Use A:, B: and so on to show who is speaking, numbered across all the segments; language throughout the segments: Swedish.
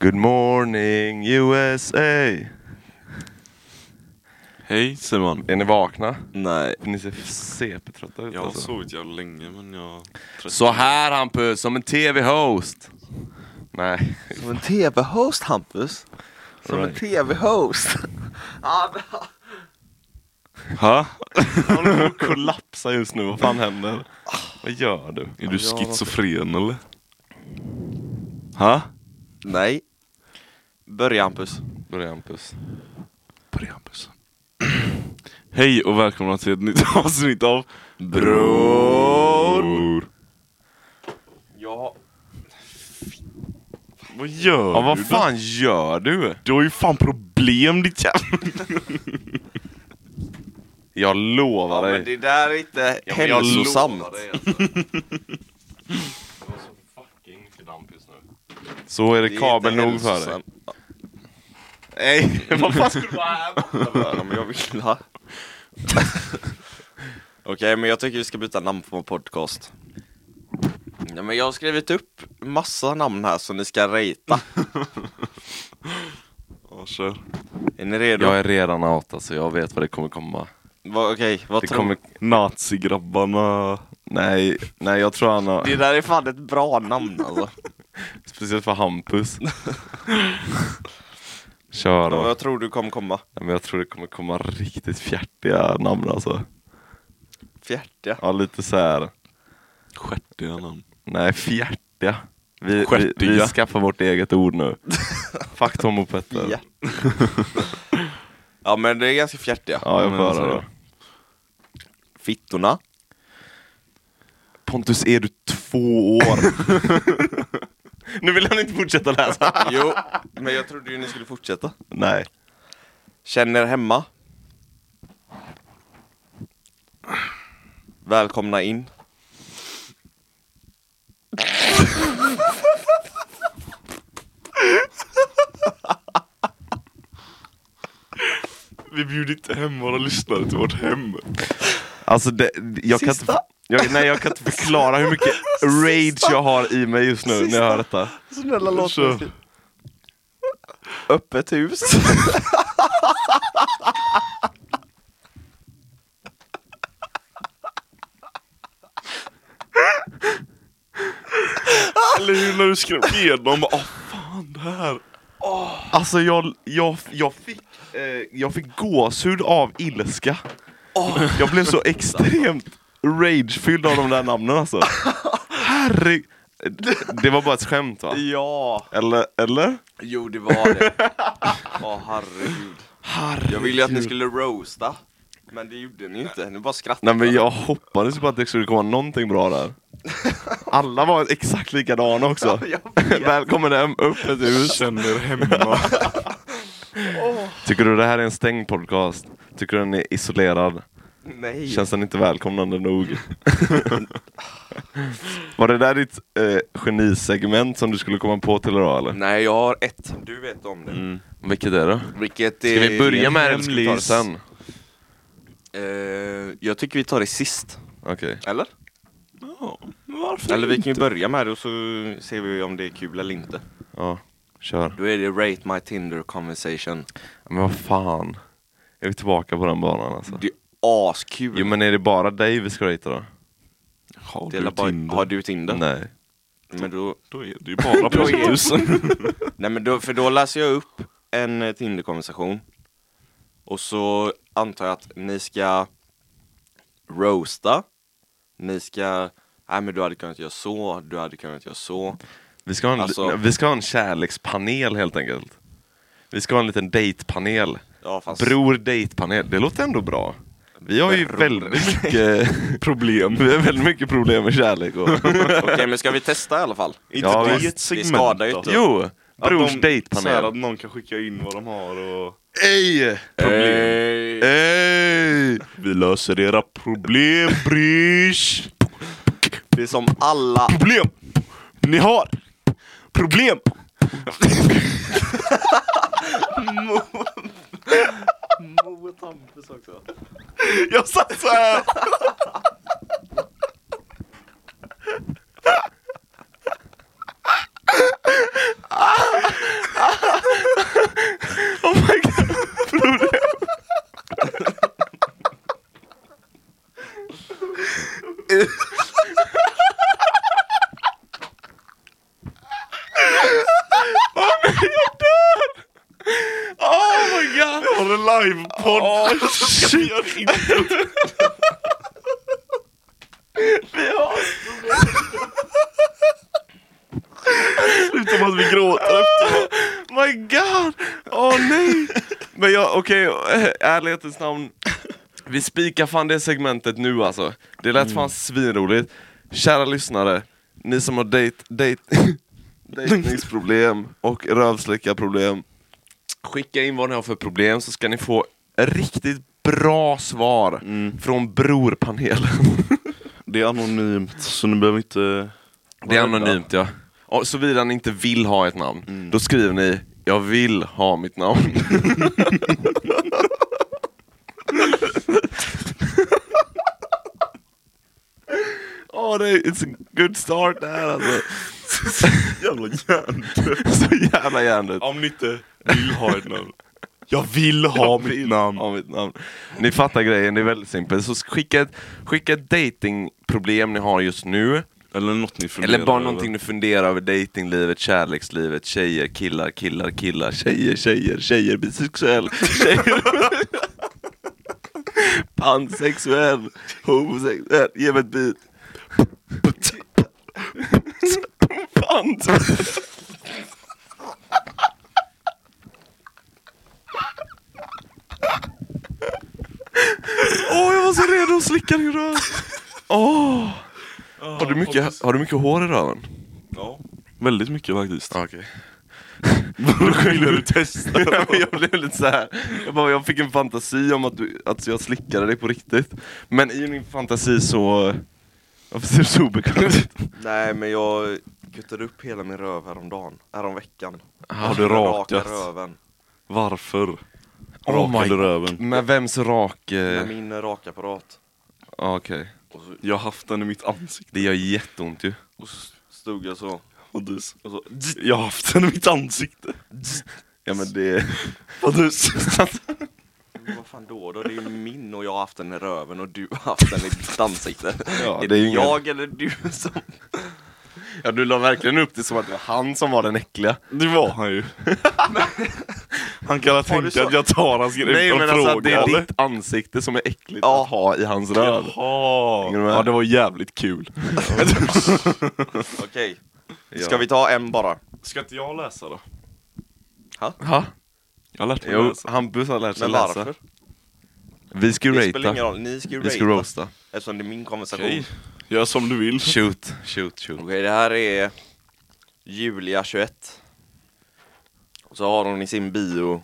A: Good morning USA!
B: Hej Simon.
A: Är ni vakna?
B: Nej.
A: Ni ser CP-trötta ut
B: Jag har
A: alltså.
B: sovit jävla länge men jag...
A: Så här Hampus, som en TV-host! Nej.
C: Som en TV-host Hampus. Som en
A: Right.
C: TV-host. Ja, men-
A: Ha? Han håller på att kollapsa just nu, vad fan händer? Vad gör du?
B: Är du
C: jag-
B: schizofren eller? Ha?
C: Nej. Börja Hampus.
A: Börja Hampus.
B: Preambus. Hej och välkomna till ett nytt avsnitt av Bror.
C: Ja.
B: Vad gör
A: Ja vad
B: du då?
A: fan gör du?
B: Du har ju fan problem ditt jävla...
A: Jag lovar dig.
C: men det där är inte
A: Ja, men jag
C: hälsosamt.
A: lovar dig, alltså. Det var så fucking klamp just nu. Så är det,
C: Det är
A: kabel
C: inte
A: nog för dig.
C: hälsosamt. Nej, vad fan skulle du vara här borta? Ja, men jag vill ha. Okej, men jag tycker vi ska byta namn på vår podcast. Ja, men jag har skrivit upp massa namn här som ni ska rejta.
B: Ja, kör.
C: Är ni redo?
A: Jag är redan outad så jag vet vad det kommer komma.
C: Va, Okej, vad
A: Det
C: tror
A: kommer...
B: Nazigrabbarna.
A: Nej, nej jag tror han har...
C: Det där är fan ett bra namn alltså.
A: Speciellt för Hampus. Kör då.
C: Ja, jag tror du kommer komma.
A: Nej, Men jag tror det kommer komma riktigt fjärtiga namn alltså.
C: Fjärtiga.
A: Ja lite så här.
B: Stjärtiga namn.
A: Nej, fjärtiga. Vi, vi, vi
B: Stjärtiga.
A: skaffar vårt eget ord nu. Fuck Tom och Petter.
C: Ja. ja men det är ganska fjärtiga.
A: Ja, jag får
B: Men
A: höra
B: så-
A: då.
C: Fittorna.
A: Pontus, är du två år? nu vill han inte fortsätta läsa.
C: Jo, men jag trodde ju ni skulle fortsätta.
A: Nej.
C: Känner hemma. Välkomna in.
B: Vi bjuder inte hem våra lyssnare till vårt hem.
A: Alltså, det, jag, kan
C: Sista.
A: inte, jag, nej, jag kan inte förklara hur mycket rage jag har i mig just nu när jag hör detta.
C: Snälla
B: låt mig skriva.
C: Öppet hus.
B: Eller hur när du skrev igenom, åh fan det här.
A: Alltså, jag, jag, jag, fick, eh, jag fick gåshud av ilska. Jag blev så extremt ragefylld av de där namnen alltså. Herregud. Det var bara ett skämt va?
C: ja.
A: Eller? eller?
C: Jo det var det. Åh herregud. Jag ville ju att ni skulle roasta. Men det gjorde ni ju inte. Ni bara skrattade.
A: Nej men jag hoppades ju på att det skulle komma någonting bra där. Alla var exakt likadana också.
C: Ja, jag vet.
A: Välkommen hem, upp ett
B: Du
A: hus.
B: känner hemma.
A: Tycker du det här är en stängd podcast? Tycker du den är isolerad?
C: Nej.
A: Känns den inte välkomnande nog? var det där ditt eh, genisegment som du skulle komma på till idag eller?
C: Nej, jag har ett. Du vet om det.
A: Vilket är det?
C: Vilket
A: Mm. Ska vi börja med det eller
C: eller
A: ska vi ta det sen?
C: Eh, jag tycker vi tar det sist.
A: Okej.
C: Eller?
B: Ja, varför
C: Eller vi kan ju börja med det och så ser vi om det är kul eller inte.
A: Ja, kör.
C: Då är det Rate My Tinder Conversation.
A: Men vad fan. Är vi tillbaka på den banan alltså?
C: Det är askul.
A: Jo men är det bara dig vi ska rita då?
B: Har
C: det
B: du
C: är bara,
B: Tinder?
C: har du Tinder?
A: Nej.
C: Men då,
B: Då är det ju bara
C: Då är det-
B: Pontus.
C: nej men då, för då läser jag upp en eh, Tinder-konversation. Och så antar jag att ni ska roasta. Ni ska, nej men du hade kunnat göra så, du hade kunnat göra så.
A: Vi ska, ha en,
C: Alltså-
A: vi ska ha en kärlekspanel helt enkelt. Vi ska ha en liten dejtpanel.
C: Ja, fast...
A: Bror dejtpanel, det låter ändå bra. Vi har ju
C: Bror.
A: väldigt mycket problem. Vi har väldigt mycket problem med kärlek och...
C: Okej men ska vi testa i alla fall?
B: Inte
A: Ja,
B: det
A: visst.
B: ett segment
C: Det skadar ju inte.
A: jo! Brors
B: Såhär
A: dejtpanel.
B: att någon kan skicka in vad de har och...
A: Ey!
C: Problem.
A: Ey!
B: Vi löser era problem brysch!
C: Det är som alla,
B: Problem! Ni har problem!
A: Jag satt såhär!
B: livepodd! Oh, shit!
A: Sluta med att vi gråter efteråt. My god! Åh nej! Men jag, okej, eh, ärlighetens namn. Vi spikar fan det segmentet nu alltså. Det lät fan svinroligt. Kära lyssnare, ni som har dejt, dejt, dejtningsproblem och rövslickarproblem. Skicka in vad ni har för problem så ska ni få riktigt bra svar från brorpanelen.
B: Det är anonymt, så ni behöver inte...
A: Det är anonymt ja. Och Såvida ni inte vill ha ett namn,
B: Mm.
A: då skriver ni jag vill ha mitt namn. Åh, det är it's a good start det här alltså.
B: Jävla hjärn.
A: Så jävla hjärndött.
B: Om ni inte vill ha ett namn. Jag vill ha mitt namn.
A: Ja, mitt namn. Ni fattar grejen, det är väldigt simpelt. Så skicka ett, skicka ett datingproblem ni har just nu.
B: Eller något ni funderar
A: Eller bara
B: över.
A: någonting du funderar över, datinglivet, kärlekslivet, tjejer, killar, killar, killar, tjejer, tjejer, tjejer, bisexuell, tjejer, pansexuell, homosexuell, ge mig ett bit. Pant. Åh, jag var så redo att slicka din röv. Åh. Har du, mycket, har du mycket hår i röven?
B: Ja. Väldigt mycket faktiskt.
A: Okej. Okay.
B: Vill du testa?
A: jag blev lite så här. Jag, bara, jag fick en fantasi om att, du, att jag slickade dig på riktigt. Men i min fantasi så... Varför ser du så obekväm ut?
C: Nej men jag kuttade upp hela min röv häromdagen, häromveckan.
A: Ah,
B: Har du
C: Raka
B: rakat?
C: röven.
B: Varför?
A: Oh my-
B: Rakade röven.
A: Med vems rak...
C: Med
A: Eh,
C: min rakapparat.
A: ah, Okej.
C: Och så,
B: Jag har haft den i mitt ansikte.
A: Det gör jätteont ju.
C: och så stod jag så.
B: Pontus. Jag har haft den i mitt ansikte.
A: Ja men det...
B: Pontus.
C: Men Vad fan då då? Det är ju min och jag har haft den i röven och du har haft den i ditt ansikte.
A: Ja,
C: är
A: det
C: det
A: är ju ingen-
C: jag eller du som...
A: ja, du la verkligen upp det som att det var han som var den äckliga.
B: Det var han ju. han kan ha tänkt
C: så-
B: att jag tar hans grej
A: Nej
B: utan
A: men alltså att det är
B: eller?
A: ditt ansikte som är äckligt
C: Ja.
A: att ha i hans röv.
B: Jaha!
A: Hänger du med?
B: Ja, det var jävligt kul.
C: Okej, ska
A: Ja.
C: vi ta en bara?
B: Ska inte jag läsa då?
A: Ha?
B: Jag har lärt mig
A: Jo,
B: läsa.
A: Hampus har lärt sig
C: Men
A: läsa.
C: varför?
A: Vi ska ju
C: Det spelar
A: ratea.
C: ingen roll, ni ska ju
A: Vi ska
C: rata
A: roasta.
C: eftersom det är min konversation.
B: Okej,
C: Okej,
B: gör som du vill.
A: Shoot, shoot, shoot.
C: det här är Julia 21. Och så har hon i sin bio...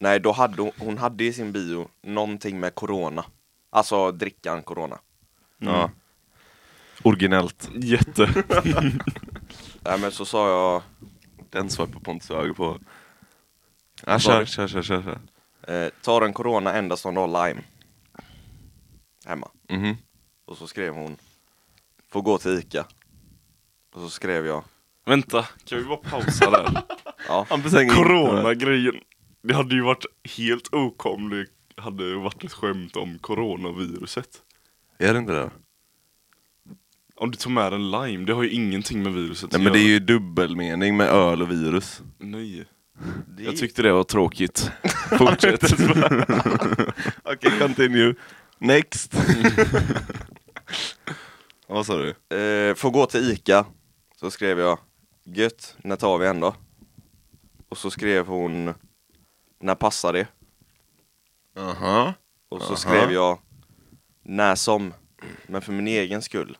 C: Nej, då hade hon, hon hade i sin bio någonting med corona. Alltså drickan corona.
A: Ja. Originellt.
B: Jätte.
C: Nej men så sa jag...
A: Den swipar Pontus höger på. Ja,
C: Sorry.
A: kör, kör, kör, kör. kör.
C: Eh, tar en corona endast om du har lime. Hemma.
A: Mhm.
C: Och så skrev hon. Får gå till Ica. Och så skrev jag.
B: Vänta, kan vi bara pausa där?
C: Ja.
A: Hampus hänger inte med.
B: Corona-grejen. Det hade ju varit helt ok om det hade varit ett skämt om coronaviruset.
A: Är det inte det?
B: Om du tar med en lime, det har ju ingenting med viruset
A: Nej
B: att
A: men det är
B: göra.
A: ju dubbelmening med öl och virus.
B: Nej.
C: Det
B: Jag tyckte det var tråkigt. Fortsätt.
A: Okej, continue. Next. Vad sa du?
C: eh, får gå till Ica. Så skrev jag. Gött, när tar vi en då? Och så skrev hon. När passar det?
A: Aha.
C: Och så
A: Aha.
C: skrev jag. När som. Men för min egen skull.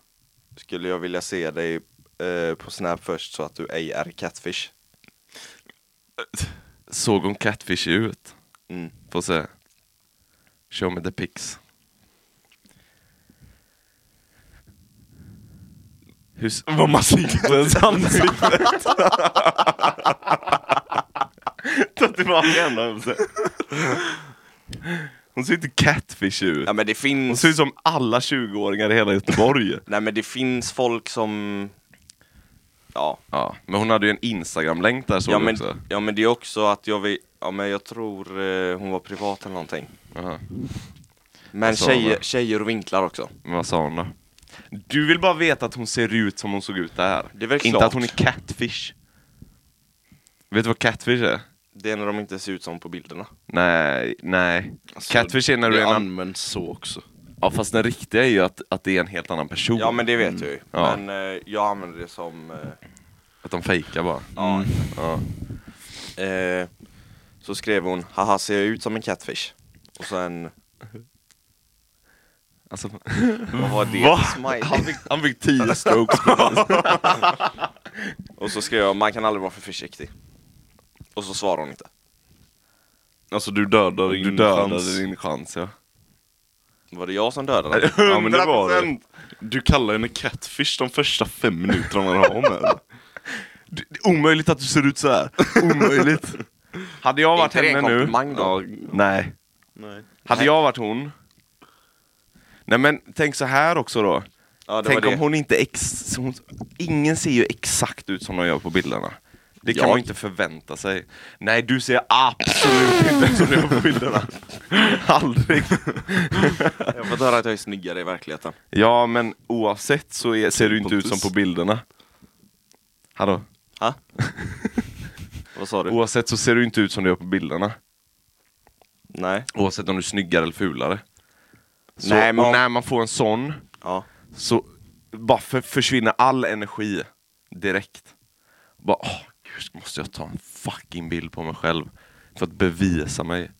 C: Skulle jag vilja se dig eh, på Snap först så att du ej är catfish.
A: Såg hon catfish ut?
C: Mm.
A: Får se. Show me the pics. Hur, s-
B: Vad man ser inte ens ansiktet.
A: Ta tillbaka henne Hamse. Hon ser inte catfish ut.
C: Ja men det
A: Hon
C: finns.
A: ser ut som alla 20-åringar i hela Göteborg.
C: Nej men det finns folk som... Ja,
A: Ja, men hon hade ju en Instagram-länk där såg
C: ja,
A: du
C: men,
A: också.
C: ja men det är också att jag vill... Ja men jag tror eh, hon var privat eller någonting.
A: Aha.
C: Men
A: sa
C: tjejer,
A: hon?
C: tjejer och vinklar också.
A: Men vad sa hon då? Du vill bara veta att hon ser ut som hon såg ut där.
C: Det är väl
A: inte
C: klart.
A: att hon är catfish. Vet du vad catfish är?
C: Det är när de inte ser ut som på bilderna.
A: Nej, nej.
C: Alltså,
A: Catfish är när du
B: Det
A: är en annan...
B: används så också.
A: Ja fast den riktiga är ju att, att det är en helt annan person.
C: Ja men det vet jag ju.
A: Ja.
C: Men eh, jag använder det som... Eh,
A: Att de fejkar bara. Mm.
C: ja, exakt.
A: Ja.
C: Eh, så skrev hon, haha ser jag ut som en catfish? Och sen,
A: Alltså,
C: vad var det
A: Va?
C: för smiley?
A: han, fick, han fick tio strokes på den.
C: Och så skrev jag, man kan aldrig vara för försiktig. Och så svarade hon inte.
B: Alltså du dödar
A: Du
B: din
A: dödade
B: chans.
A: din chans ja.
C: Var det jag som dödade den?
B: Ja, men det var det.
A: 100%.
B: Du kallar henne catfish de första fem minuterna man har med henne.
A: Det är omöjligt att du ser ut så här. Omöjligt. Hade jag varit
C: Inte det en
A: henne nu...
C: komplimang då?
A: Ja, nej.
C: Nej.
A: Hade
C: Nej.
A: jag varit hon... Nej men tänk så här också då.
C: Ja, det
A: Tänk
C: var
A: om
C: det.
A: hon inte ex... Hon, ingen ser ju exakt ut som de gör på bilderna. Det kan
C: Jag?
A: man inte förvänta sig. Nej, du ser absolut inte ut som du gör på bilderna. Aldrig.
C: Jag har fått höra att jag är snyggare i verkligheten.
A: Ja, men oavsett så är, ser du inte ut som på bilderna. Hallå?
C: Ha? Vad sa du?
A: Oavsett så ser du inte ut som du gör på bilderna.
C: Nej.
A: Oavsett om du är snyggare eller fulare. Så,
C: Nej, men
A: och
C: om-
A: när man får en sån
C: Ja.
A: så bara för, försvinner all energi direkt. Bara, åh, gud, måste jag ta en fucking bild på mig själv för att bevisa mig.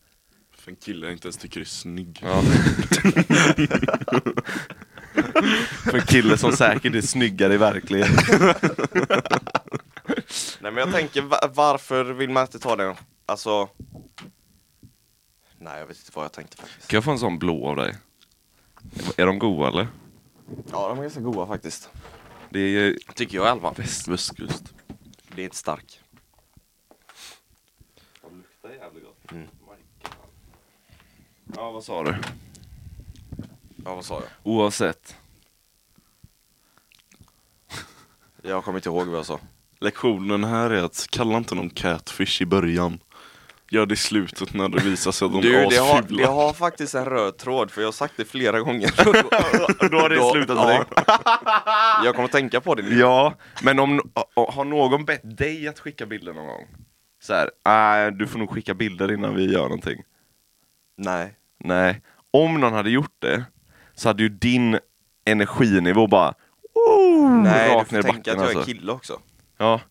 B: För en kille jag inte ens tycker är snygg.
A: Ja. för en kille som säkert är snyggare i verkligheten.
C: Nej men jag tänker, va- varför vill man inte ta den? Alltså... Nej jag vet inte vad jag tänkte faktiskt.
A: Kan jag få en sån blå av dig? Är de goda eller?
C: Ja de är ganska goda faktiskt.
A: Det är ju
C: Tycker jag i alla fall.
A: västkust.
C: Det är inte stark.
A: Ja, vad sa du?
C: Ja vad sa jag?
A: Oavsett.
C: Jag kommer inte ihåg vad jag sa.
B: Lektionen här är att kalla inte någon catfish i början. Gör det i slutet när det visar sig att de
C: Du
B: är
C: det har, det
B: asfula.
C: har faktiskt en röd tråd för jag har sagt det flera gånger.
A: Då har det slutat direkt.
C: Jag kommer tänka på det nu.
A: Ja, men om, o- o- har någon bett dig att skicka bilder någon gång? Så här, "Nej, du får nog skicka bilder innan vi gör någonting.
C: Nej.
A: Nej, om någon hade gjort det så hade ju din energinivå bara oh,
C: Nej du
A: rakt ner
C: får
A: i
C: tänka att
A: backen
C: jag
A: alltså.
C: är kille också.
A: Ja.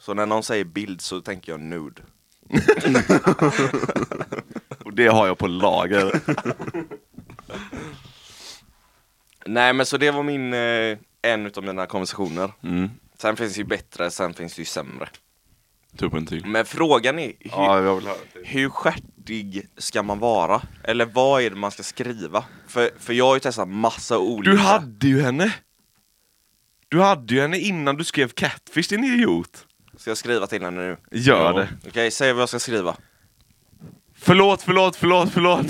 C: Så när någon säger bild så tänker jag nude.
A: Och det har jag på lager.
C: Nej men så det var min, eh, en utav mina konversationer.
B: Mm,
C: Sen finns det ju bättre, sen finns det ju sämre.
B: typ en till.
C: Men frågan är, hur,
A: ja, jag vill höra.
C: hur stjärtig ska man vara? Eller vad är det man ska skriva? För, för jag har ju testat massa olika.
A: Du hade ju henne! Du hade ju henne innan du skrev Catfish, din idiot!
C: Ska jag skriva till henne nu?
A: Gör
B: Ja.
A: det.
C: Okej, säg vad jag ska skriva.
A: Förlåt, förlåt, förlåt, förlåt!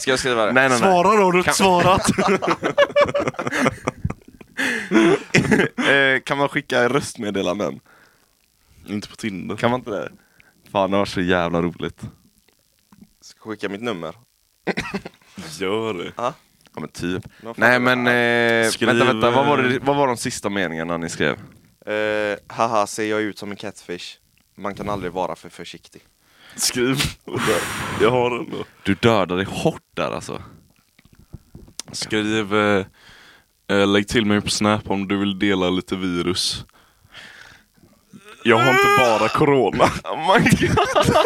C: Ska jag skriva det?
A: nej, nej, nej.
B: Svara då, har du inte
A: Kan-
B: svarat?
A: Eh, kan man skicka röstmeddelanden?
B: inte på Tinder.
A: Kan man inte det? Fan, det var så jävla roligt.
C: Ska jag skicka mitt nummer?
B: Gör det.
C: Ja.
A: Ja men typ.
C: Vad fan
A: Nej
C: är det
A: men, eh,
B: Skriv,
A: vänta vänta, vad var, det,
B: eh,
A: vad var de sista meningarna ni skrev?
C: Eh, haha, ser jag ut som en catfish? Man kan aldrig vara för försiktig.
B: Skriv. jag har den då.
A: Du dödade hårt där alltså.
B: Skriv, eh, eh, lägg till mig på Snap om du vill dela lite virus. Jag har inte bara corona.
A: Oh my god! oh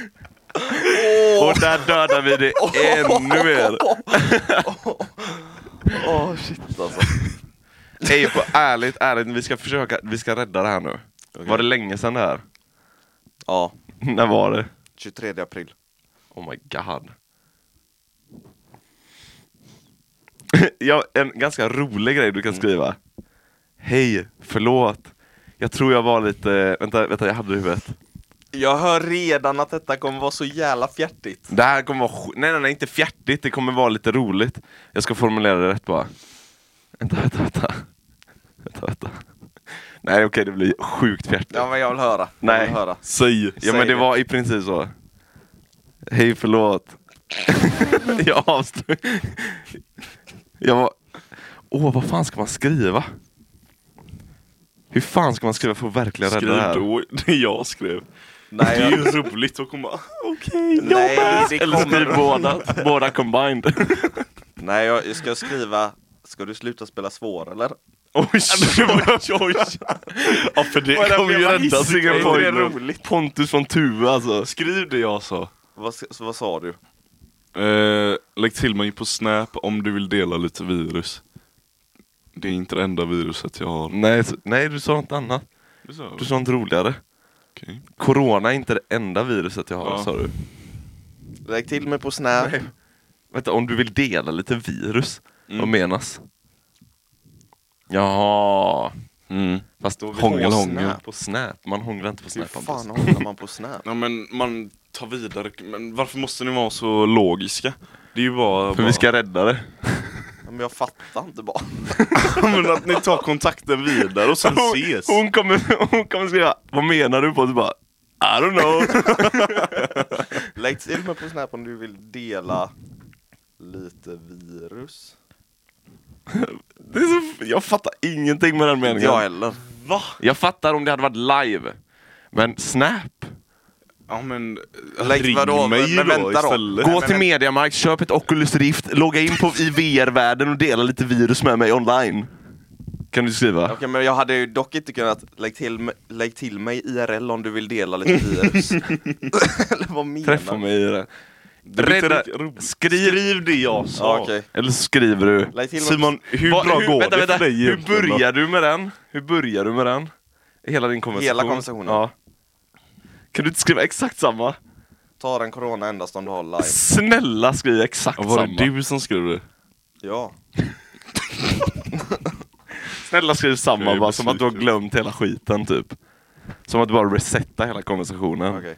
A: my god! Och där dödar vi det ännu mer!
C: Åh shit alltså.
A: Ey, på ärligt, ärligt, vi ska försöka, vi ska rädda det här nu. Var det länge sedan det här?
C: Ja,
A: När var det?
C: 23 april.
A: Oh my god. ja, en ganska rolig grej du kan skriva. Hej, förlåt. Jag tror jag var lite... Vänta, vänta jag hade det i huvudet.
C: Jag hör redan att detta kommer vara så jävla fjärtigt.
A: Det här kommer vara... sk- Nej, nej, nej, inte fjärtigt. Det kommer vara lite roligt. Jag ska formulera det rätt bara. Vänta, vänta, vänta. Vänta, vänta. Nej, okej, det blir sjukt fjärtigt.
C: Ja men jag vill höra. Jag
A: Nej.
C: vill höra.
B: Säg.
A: Ja men
C: Säg
A: det
C: det.
A: var i princip så. Hej förlåt. jag avslöjade. Jag var... Åh vad fan ska man skriva? Hur fan ska man skriva för att verkligen
B: Skriv
A: rädda det här?
B: då det jag skrev.
C: Nej,
B: Det är
C: jag,
B: ju roligt att komma.
C: nej, det
A: Eller
C: kommer-
A: skriv båda, båda combined.
C: nej, jag jag ska skriva Ska du sluta spela svår eller?
A: Oj, oj, oj.
B: Ja för det
A: Vad är det
B: kommer ju
A: för
B: rädda
A: hissing
B: situationen.
A: på? Det är roligt. Pontus från Tuve alltså.
B: Skriv det jag sa.
C: Vad, s- vad sa du?
B: Eh, lägg till mig på Snap om du vill dela lite virus. Det är inte det enda viruset jag har.
A: Nej, så- nej, du sa något annat.
B: Mm. Du sa
A: Du sa något roligare.
B: okej.
A: Corona är inte det enda viruset jag har,
B: Ja.
A: sa du.
C: Lägg till mig på Snap.
A: Nej. Vänta, om du vill dela lite virus,
B: Mm.
A: vad menas? Jaha.
B: Mm.
A: Fast då vill
B: Hångel,
A: på
B: hångel.
A: Snap. På Snap. Man hånglar inte på
C: Hur
A: Snap. Hampus.
C: fan håller man på Snap?
B: Ja men man tar vidare. Men varför måste ni vara så logiska? Det är ju bara...
A: För
B: bara...
A: vi ska rädda det.
C: Ja, Men jag fattar inte bara.
B: men att ni tar kontakten vidare och sen ses.
A: Hon, hon, kommer, hon kommer skriva, vad menar du på? Och du bara, I don't know.
C: Lägg till mig på Snap om du vill dela lite virus.
A: Det är så, jag fattar ingenting med den
C: Inte jag
A: meningen.
C: heller.
B: Va?
A: Jag fattar om det hade varit live. Men Snap?
B: Ja men
C: Lägg-
B: ring
C: vadå?
B: mig
C: Men
B: då
C: vänta då.
B: istället.
A: Gå till Mediamarkt, köp ett Oculus Rift, logga in på i VR-världen och dela lite virus med mig online. Kan du skriva?
C: Okej men jag hade ju dock inte kunnat lägg till, m- lägg till mig IRL om du vill dela lite virus. Eller vad menar
A: Träffa
C: du?
A: mig i det.
B: Det blir inte
A: Rädda-
B: riktigt roligt.
A: Skriv, skriv det jag
C: sa. Ja, okej.
A: Eller så skriver du.
C: Lägg till mig-
B: Simon, hur
A: Vad-
B: bra går
A: vänta,
B: det
A: vänta.
B: för dig
A: Hur
B: egentligen då?
A: börjar du med den? Hur börjar du med den? Hela din konversation?
C: Hela konversationen?
A: Ja. Kan du inte skriva exakt samma?
C: Ta den corona endast om du har live.
A: Snälla skriv exakt
B: Ja, var
A: samma.
B: det du som skrev det?
C: Ja.
A: Snälla skriv
B: Jag
A: samma
B: är
A: bara, som att du har
B: besviken.
A: glömt hela skiten typ. Som att du bara resetar hela konversationen.
C: Okej.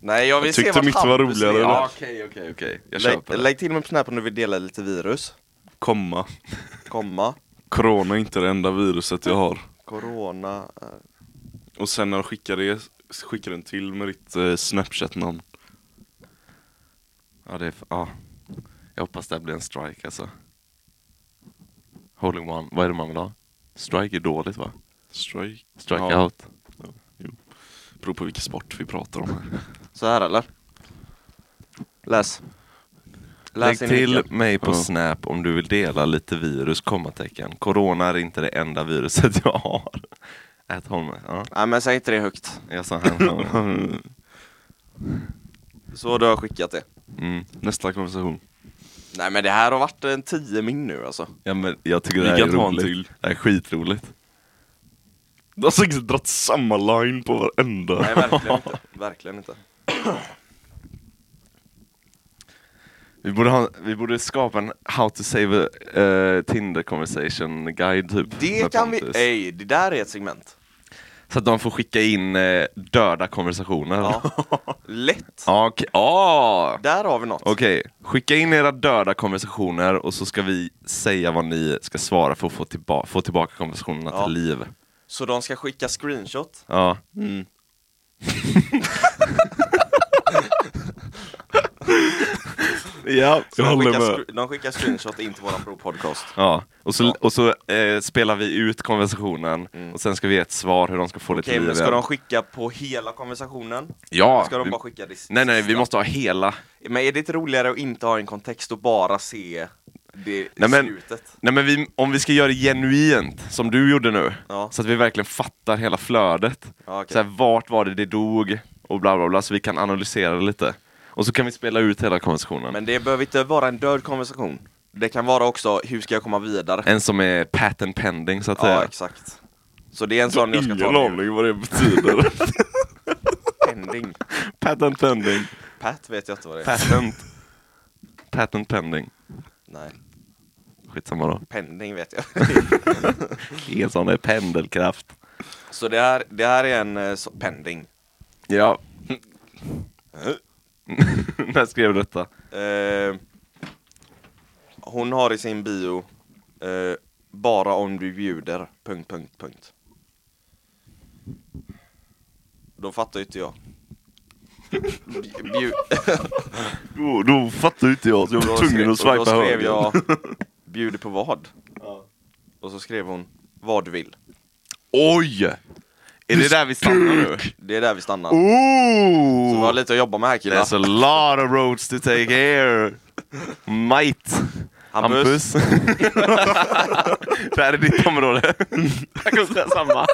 C: Nej jag vill
B: Jag
C: se
B: tyckte
C: vad
B: mitt var
C: Hampus
B: roligare
C: vill.
B: då.
C: Ja, okej, okej, okej.
A: Okej, jag
C: Lägg,
A: köper det.
C: lägg till mig på Snap om du vill dela lite virus.
B: Komma.
C: Komma.
B: Corona är inte det enda viruset jag har.
C: Corona. eh, är-
B: Och sen när jag skickar det, skickar den till med ditt eh, snapchat-namn.
A: Ja, det är, f- ja. Jag hoppas det här blir en strike alltså. Holding one, vad är det man vill ha? Strike är dåligt va?
B: Strike.
A: Strike
B: Ja.
A: out.
B: Beror på vilken sport vi pratar om här.
C: Så här eller? Läs.
A: Lägg
C: in
A: till
C: vilken.
A: mig på
B: Ja.
A: Snap om du vill dela lite virus, kommatecken. Corona är inte det enda viruset jag har. Ät Holme. Ja,
C: Nej men säg inte det högt.
A: jag sa han.
C: Så du har skickat det.
A: Mm.
B: Nästa konversation.
C: Nej men det här har varit en 10 min nu alltså.
A: Ja, men jag tycker
B: Vi
A: det här
B: kan
A: är
B: ta en
A: roligt.
B: till.
A: Det här är skitroligt.
B: Du har säkert dragit samma line på varenda.
C: Nej verkligen inte. Verkligen inte.
A: Vi borde, ha, vi borde skapa en How to save a eh, Tinder conversation guide typ.
C: Det
A: med
C: kan vi,
A: Pontus.
C: ej det där är ett segment.
A: Så att de får skicka in eh, döda konversationer.
C: Ja. Lätt.
A: Ja, Okej, ah.
C: Där har vi något.
A: Okej, skicka in era döda konversationer och så ska vi säga vad ni ska svara för att få, tillba- få tillbaka konversationerna
C: Ja.
A: till liv.
C: Så de ska skicka screenshot.
A: Ja.
C: Mm.
A: ja.
C: Så de,
B: håller
C: skickar
B: med.
C: scre- de skickar screenshot in till våran provpodcast.
A: ja. Och så, och så eh, spelar vi ut konversationen och sen ska vi ge ett svar hur de ska få det
C: Mm. Okej
A: till
C: men
A: liv.
C: ska
A: igen.
C: de skicka på hela konversationen?
A: ja.
C: Ska de
A: vi-
C: bara skicka det sista?
A: Nej, nej, vi måste ha hela.
C: Men är det inte roligare att inte ha en kontext och bara se det i
A: Nej, men-
C: slutet?
A: Nej men vi, om vi ska göra det genuint, som du gjorde nu,
C: Ja.
A: så att vi verkligen fattar hela flödet.
C: Ja, okej.
A: så här, vart var det det dog och bla bla bla, så vi kan analysera det lite. Och så kan vi spela ut hela konversationen.
C: Men det behöver inte vara en död konversation. Det kan vara också, hur ska jag komma vidare?
A: En som är patent pending så att
C: Ja,
A: säga.
C: exakt. Så det är en sån jag ska
B: Ingen
C: ta nu.
B: aning vad det betyder.
C: Pending.
A: Patent pending.
C: Pat vet jag inte vad det är.
A: Patent. patent pending.
C: Nej,
A: Skitsamma då.
C: pending vet jag.
A: Det är en sån där pendelkraft.
C: Så det här, det här är en eh, så, pending.
A: Ja. När skrev du detta?
C: Eh, hon har i sin bio eh, bara om du bjuder, punkt, punkt, punkt. Då fattar ju inte jag. Bju- bju-
A: Då, då fattar inte jag, så jag
C: Då skrev- och Då skrev jag bjuder på vad? Och så skrev hon vad du vill.
A: Oj! Är det där vi stannar nu?
C: Det är där vi stannar.
A: Oh.
C: Så vi har
A: Ooh!
C: lite att jobba med här killar.
A: There's a lot of roads to take here. Might.
C: Hampus.
A: det här är ditt område. Jag kommer säga samma.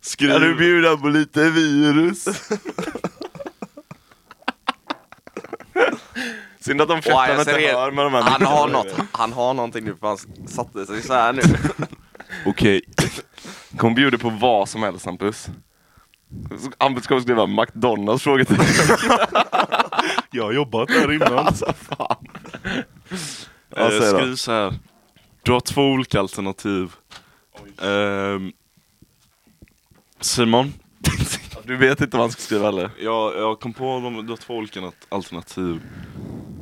B: Skriv.
A: Kan du bjuda på lite virus? Synd att de
C: Åh,
A: fjättarna
C: jag ser
A: inte
C: det.
A: hör med de här
C: Han har
A: mikrofonerna.
C: något. Han har någonting nu för han satte sig så här nu.
B: Okej.
A: Kommer bjuda på vad som helst Hampus. Hampus kommer skriva McDonalds frågetecken.
B: Jag har jobbat där innan.
A: Alltså fan. Vad
B: Eh,
A: säger du?
B: skriv så här. Du har två olika alternativ. Ehm, Simon.
A: Du vet inte vad han ska skriva eller?
B: jag, jag kom på de, du har två olika nat- alternativ.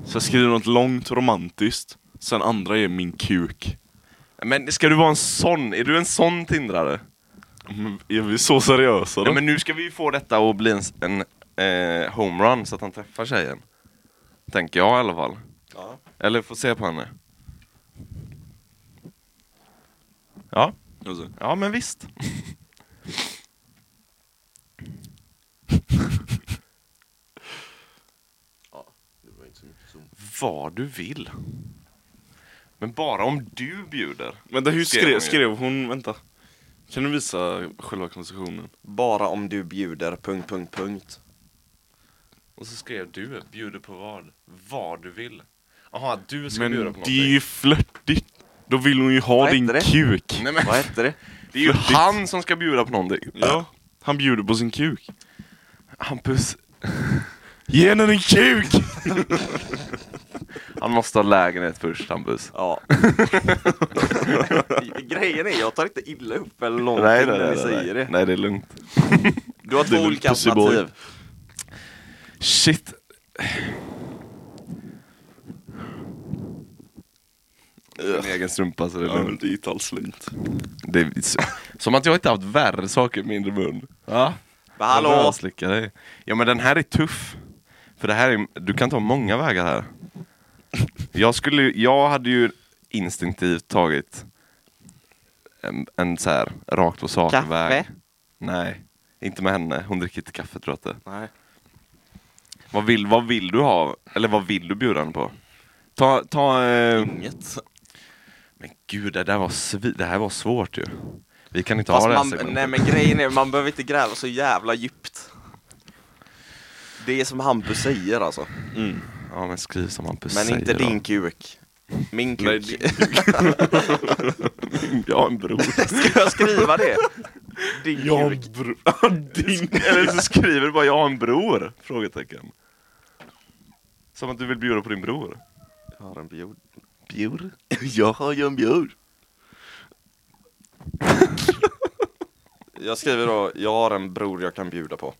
B: Så jag skriver något långt romantiskt. Sen andra är min kuk.
A: Men ska du vara en sån? Är du en sån tindrare?
B: Men är vi så seriösa då?
A: Ja, men nu ska vi ju få detta att bli en, en eh, homerun så att han träffar tjejen. Tänker jag i alla fall.
C: Ja.
A: Eller får se på henne. Ja,
B: Alltså,
A: ja men visst. Vad du vill. Men bara om du bjuder.
B: Vänta, hur
A: Skrev
B: skrev,
A: hon ju.
B: skrev hon? Vänta. Kan du visa själva konversationen?
C: Bara om du bjuder... Punkt, punkt, punkt.
A: Och så skrev du, bjuder på vad? Vad du vill. Jaha, att du ska
B: Men
A: bjuda på
B: det är ju flörtigt. Då vill hon ju ha
C: Vad
B: din
C: heter det?
B: kuk.
A: Nej, men,
C: Vad hette det?
A: det är ju
B: flörtigt.
A: han som ska bjuda på någonting.
B: Ja, han bjuder på sin kuk.
A: Hampus,
B: Ge henne din kuk!
A: han måste ha lägenhet först Hampus.
C: Ja. Grejen är, jag tar inte illa upp eller någonting
A: Nej, nej,
C: när
A: nej,
C: ni
A: nej,
C: säger det.
A: nej. nej, det är lugnt.
C: Du har två
B: är väl
C: olika
B: Pussyboy.
C: alternativ.
A: Shit. Min egen strumpa så det är
B: Ja, men
A: lugnt.
B: det är inte alls lugnt.
A: Det är, så- som att jag inte haft värre saker i min mun. Ja.
C: Men hallå!
A: Slicka dig. Ja men den här är tuff. För det här är, du kan ta många vägar här. Jag skulle ju- jag hade ju instinktivt tagit en, en så här rakt på sak
C: Kaffe?
A: väg. Nej, inte med henne. Hon dricker inte kaffe tror jag inte.
C: Nej.
A: Vad vill, vad vill du ha? Eller vad vill du bjuda henne på? Ta, ta... Eh,
C: Inget.
A: men gud, det där var svi, det här var svårt ju. Vi kan inte
C: Fast
A: ha det här
C: man,
A: segmentet.
C: nej men grejen är, man behöver inte gräva så jävla djupt. Det är som Hampus säger alltså.
A: Ja men skriv som Hampus
C: Men
A: säger
C: inte
A: då.
C: din kuk. Min kuk.
B: Nej, din
A: Jag har en bror.
C: Ska jag skriva det? Din kuk.
B: bror.
A: Eller så skriver du bara jag har en bror? Frågetecken. Som att du vill bjuda på din bror.
C: Jag har en bjud.
A: Bjur?
C: Jag har ju en bjud. Jag skriver då, jag har en bror jag kan bjuda på.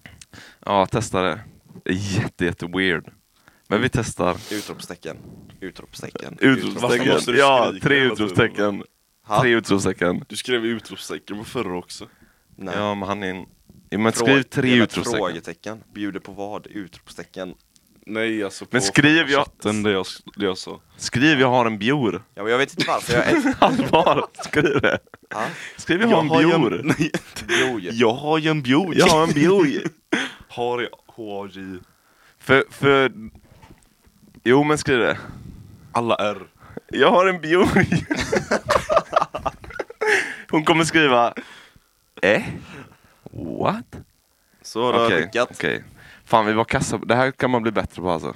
A: Ja, testa det. Det är Jätte, jätte weird. Men vi testar.
C: Utropstecken. Utropstecken.
B: Varför måste
A: Utropstecken.
B: du
A: Ja,
B: skrika
A: tre
B: hela
A: utropstecken.
C: Ha?
A: Tre utropstecken.
B: Du skrev utropstecken på förra också.
C: Nej.
A: Ja, men han är en... Ja, men
C: Frå-
A: skriv
C: det
A: tre
C: är väl
A: utropstecken.
C: Frågetecken. Bjuder på vad? Utropstecken.
B: Nej, alltså på
A: Men skriv jag-
B: chatten det jag, s- det jag sa.
A: Skriv jag har en bjur.
C: Ja, men jag vet inte varför jag är...
A: Allvar, skriv det.
C: Ha?
A: Skriv jag har en bjur.
B: Nej,
C: Bjoj.
B: jag har ju en bjoj.
A: Jag har en bjur.
B: Har jag H-A-J.
A: För, för... Jo, men skriv det.
B: Alla R.
A: Jag har en bjoj. Hon kommer skriva Eh? What?
C: Så då har jag skickat.
A: okej. Fan vi var kassa. Det här kan man bli bättre på alltså.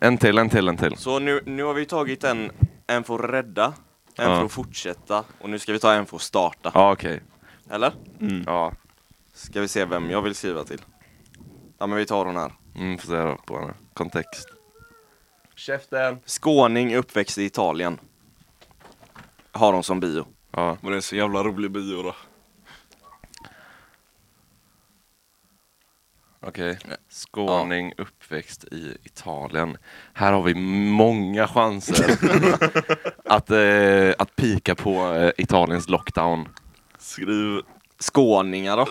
A: En till, en till, en till.
C: Så nu, nu har vi tagit en, en för att rädda, en
A: Ja.
C: för att fortsätta och nu ska vi ta en för att starta.
A: Ja okej.
C: Eller?
A: Ja.
C: Ska vi se vem jag vill skriva till. Ja men vi tar hon här.
A: Mm, får se då på henne. Kontext.
C: Skåning uppväxt i Italien. Har hon som bio.
A: Ja.
B: Men det är så jävla rolig bio då.
A: Okej. Skåning, uppväxt i Italien. Här har vi många chanser att, eh, att pika på eh, Italiens lockdown.
B: Skriv...
C: Skåningar då?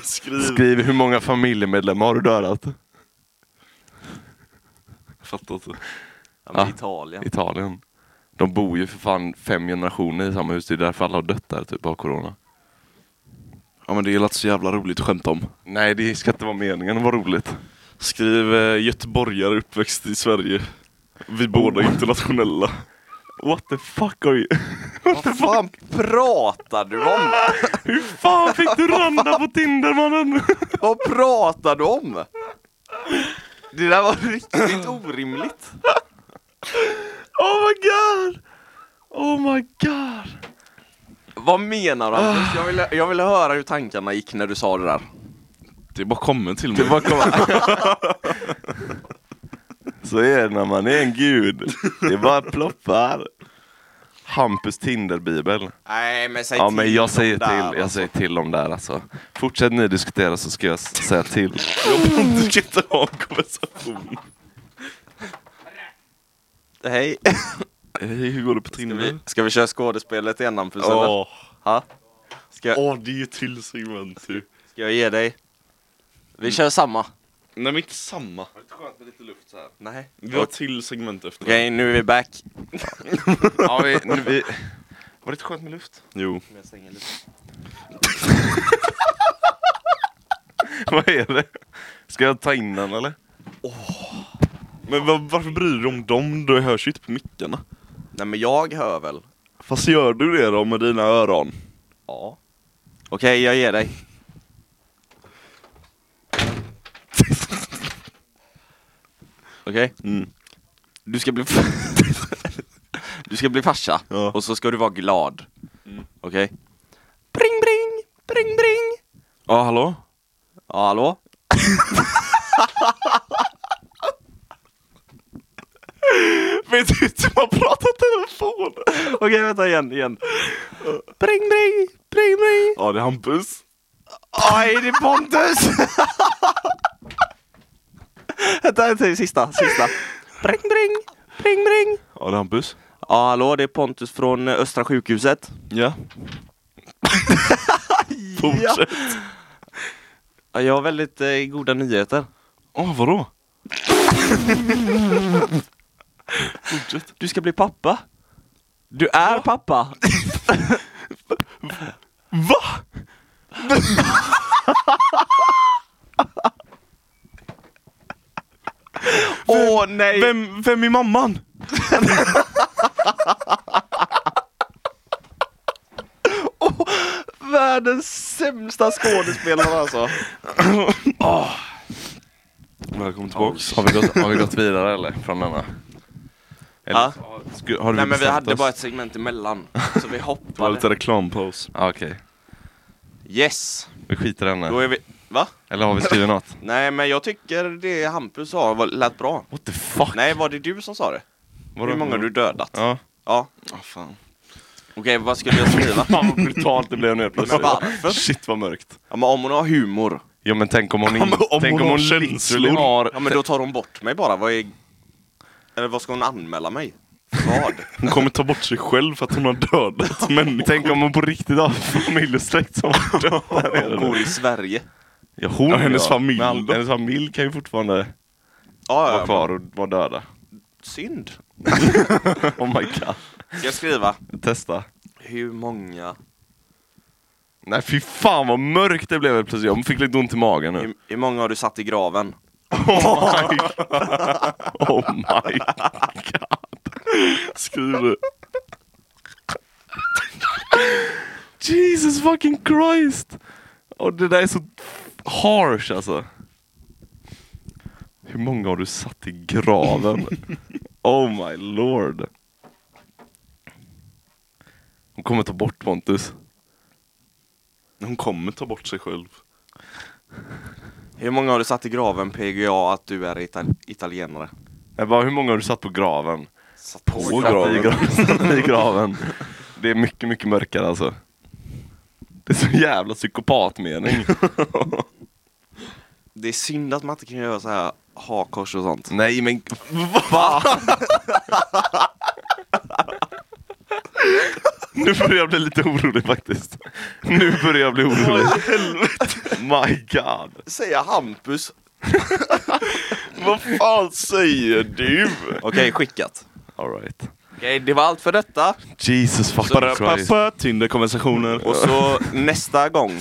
B: Skriv...
A: Skriv hur många familjemedlemmar har du dödat?
B: Fattar inte.
C: Ja, men
A: Ja.
C: Italien.
A: Italien. De bor ju för fan fem generationer i samma hus, det är därför alla har dött där typ av corona.
B: Ja men det är lät så jävla roligt att skämta om.
A: Nej det ska inte vara meningen att vara roligt.
B: Skriv eh, göteborgare uppväxt i Sverige. Vi båda är internationella.
A: What the fuck are you? What the
C: Vad
A: fuck?
C: fan pratar du om?
A: Hur fan fick du randa på Tinder mannen?
C: Vad pratar du om? Det där var riktigt orimligt.
A: Oh my god! Oh my god!
C: Vad menar du Anders? Jag ville jag vill höra hur tankarna gick när du sa det där.
B: Det bara kommer till mig.
C: Det var kom-
A: Så är det när man är en gud. Det bara ploppar. Hampus Tinderbibel.
C: Nej men säg
A: Ja
C: till
A: men jag
C: dem
A: säger
C: där,
A: till, jag
C: alltså.
A: säger till om där alltså. Fortsätt ni diskutera så ska jag s- säga till.
B: Du kan inte ha en konversation.
C: Hej.
B: Hej, hur går det på
C: Vi-
B: Tinder?
C: Ska vi köra skådespelet igen Hampus? eller?
B: Åh,
C: Ha? Ska, jag-
B: åh, det är ju till segment ju.
C: ska jag ge dig? Vi kör samma.
B: Nej men inte samma.
C: Nej.
B: Vi har ett till segment efter.
C: Okej, nu är vi back.
A: Ja, vi, nu, vi... Var det inte skönt med luft?
B: Jo.
A: Vad är det? Ska jag ta in den eller?
B: Men va- varför bryr du dig om dem? Du hörs ju inte på mickarna.
C: Nej men jag hör väl?
B: Fast gör du det då med dina öron?
C: Ja. Okej, jag ger dig. Okej?
B: Mm.
C: Du ska bli... du ska bli farsa,
B: Ja.
C: och så ska du vara glad. Okej? Mm. Bring, bring, bring, bring!
B: Ja, hallå?
C: Ja, hallå?
B: Vet du inte hur man pratar telefon?
C: Okej, vänta igen, igen. Bring, bring, bring, bring!
B: Ja, det är Hampus.
C: Oj, det är Pontus! vänta, vänta, sista, sista. Bring, bring, bring, bring!
B: Ja, det är Hampus.
C: Ja, hallå, det är Pontus från eh, Östra sjukhuset.
B: Ja.
C: Fortsätt. Ja, jag har väldigt eh, goda nyheter.
B: Åh, vadå?
C: Du ska bli pappa. Du är pappa.
B: Va?
C: Åh nej!
B: Vem, vem är mamman?
C: Världens sämsta skådespelare alltså.
B: Välkommen tillbaks.
A: Har vi gått, har vi gått vidare eller? Från denna? Eller,
C: Ja.
A: sku, har du
C: Nej men vi
A: bestämt
C: hade
A: oss?
C: bara ett segment emellan, så vi
B: Det var lite
C: hoppade.
B: reklampaus.
A: Ja, Ah, Okej,
C: Yes!
A: vi skiter i henne.
C: Då är vi... Va?
A: Eller har vi skrivit något?
C: Nej men jag tycker det Hampus sa var- lät bra.
A: What the fuck?
C: Nej, var det du som sa det?
A: Vadå?
C: Hur många har du dödat? Ja.
A: Ja.
B: Ah, fan.
C: Okej, vad skulle jag skriva?
A: Fan vad brutalt det blev nu helt
C: Men varför?
A: Shit vad mörkt.
C: Ja, men om hon har humor,
A: Ja men tänk om hon,
B: Ja,
A: in,
B: men om
A: tänk
B: hon
A: om
B: har
A: hon
B: känslor.
A: literally har...
C: Ja men då tar hon bort mig bara, vad är... Eller vad ska hon anmäla mig? Vad?
B: Hon kommer ta bort sig själv för att hon har dödat människor.
A: Tänk om hon på riktigt har familj och släkt som har dött där nere
C: Hon
A: nu.
C: bor i Sverige.
A: Ja, hon,
B: Ja, hennes familj
A: Men all-
B: då?
A: hennes familj kan ju fortfarande
C: Ja,
A: vara
C: ja,
A: kvar och vara döda.
C: synd.
A: Oh my god.
C: Ska jag skriva?
A: Testa.
C: Hur många,
A: Nej fy fan vad mörkt det blev helt plötsligt. Jag fick lite ont i magen nu.
C: hur, hur många har du satt i graven?
A: Oh my god. Oh my god.
B: Skriv det.
A: Jesus fucking Christ! Och det där är så harsh alltså. Hur många har du satt i graven? oh my lord. Hon kommer ta bort Pontus.
B: Hon kommer ta bort sig själv.
C: Hur många har du satt i graven PGA att du är ital- italienare?
A: Jag bara, hur många har du satt på graven?
C: Satt
B: På graven.
A: I graven. satt I graven. Det är mycket, mycket mörkare alltså. Det är så jävla psykopatmening.
C: Det är synd att man inte kan göra så här hakkors och sånt.
A: Nej men va? nu börjar jag bli lite orolig faktiskt. Nu börjar jag bli orolig. My god.
C: Säga Hampus.
B: Vad fan säger du?
C: Okej, skickat.
A: All right.
C: Okej, det var allt för detta.
A: Jesus fucking Christ.
B: Ba-da-ba-ba, Tinder-konversationer.
C: Och så nästa gång.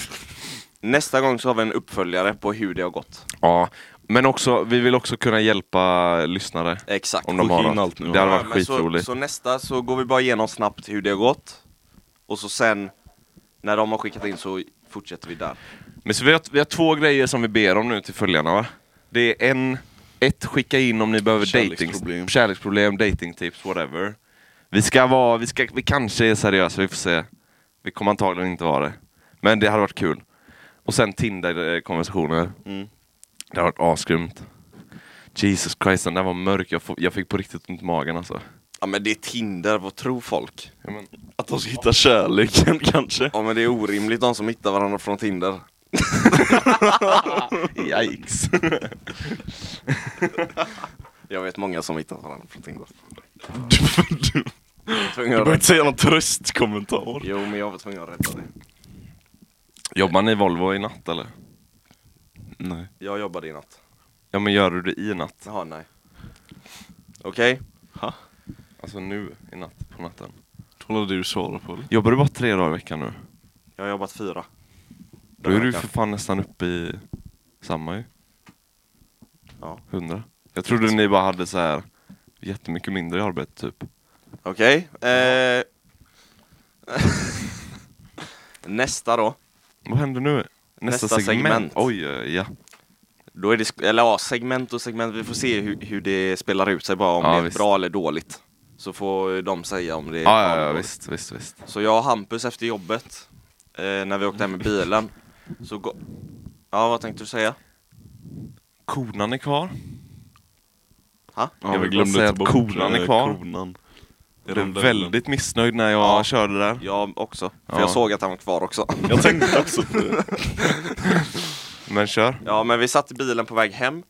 C: Nästa gång så har vi en uppföljare på hur det har gått.
A: Ja. Men också, vi vill också kunna hjälpa lyssnare.
C: Exakt.
A: Om de har
B: Skicka in
A: något.
B: allt nu.
A: Det hade
C: Ja,
A: varit
C: men så,
A: skitroligt.
C: så nästa så går vi bara igenom snabbt hur det har gått. Och så sen, när de har skickat in så fortsätter vi där.
A: Men så vi, har, vi har två grejer som vi ber om nu till följarna va? Det är en, ett skicka in om ni behöver
B: Kärleksproblem.
A: dating, kärleksproblem, datingtips, whatever. Vi ska vara, vi, ska, vi kanske är seriösa, vi får se. Vi kommer antagligen inte vara det. Men det hade varit kul. Och sen Tinder-konversationer.
C: Mm.
A: Det har varit asgrymt. Jesus Christ, den där var mörk. Jag, får, jag fick på riktigt ont i magen alltså.
C: Ja men det är Tinder, vad tror folk?
A: Ja, men,
B: Att de ska hitta kärleken kanske.
C: Ja men det är orimligt de som hittar varandra från Tinder.
A: Yikes.
C: Jag vet många som hittat varandra från Tinder.
B: Du, du,
C: Jag var
B: du
C: tvungen att
B: behöver
C: rädda.
B: inte säga någon tröstkommentar.
C: Jo men jag var tvungen att rädda det.
A: Jobbar ni Volvo i natt eller?
B: Nej.
C: Jag jobbade i natt.
A: Ja men gör du det i natt?
C: Jaha, nej. Okej.
A: Alltså nu i natt, på natten.
B: Kolla det du svarar på. eller?
A: Jobbar du bara tre dagar i veckan nu?
C: Jag har jobbat fyra.
A: Då är du ju
C: veckan.
A: för fan nästan uppe i samma ju.
C: Ja.
A: Hundra. Jag trodde ni bara hade så här jättemycket mindre i arbete typ.
C: Okej. Eh... Nästa då.
A: Vad händer nu?
C: Nästa segment.
A: Oj, eh, ja.
C: Då är det, sk- eller ja, segment och segment. Vi får se hur, hur det spelar ut sig bara om
A: Ja,
C: det är
A: visst.
C: bra eller dåligt. Så får de säga om det är
A: Ja, ja,
C: eller
A: ja,
C: dåligt.
A: visst, visst, visst.
C: Så jag och Hampus efter jobbet, eh, när vi åkte hem med bilen, så gå... Ja, vad tänkte du säga?
A: Konan är kvar.
C: Ha?
A: Jag vill bara säga att
B: ta bort,
A: konan är
B: eh,
A: kvar.
B: Konan.
A: Jag blev väldigt missnöjd när jag
C: Ja.
A: körde där.
C: Jag också. För
A: Ja.
C: jag såg att han var kvar också.
B: Jag tänkte också
A: Men kör.
C: Ja, men vi satt i bilen på väg hem.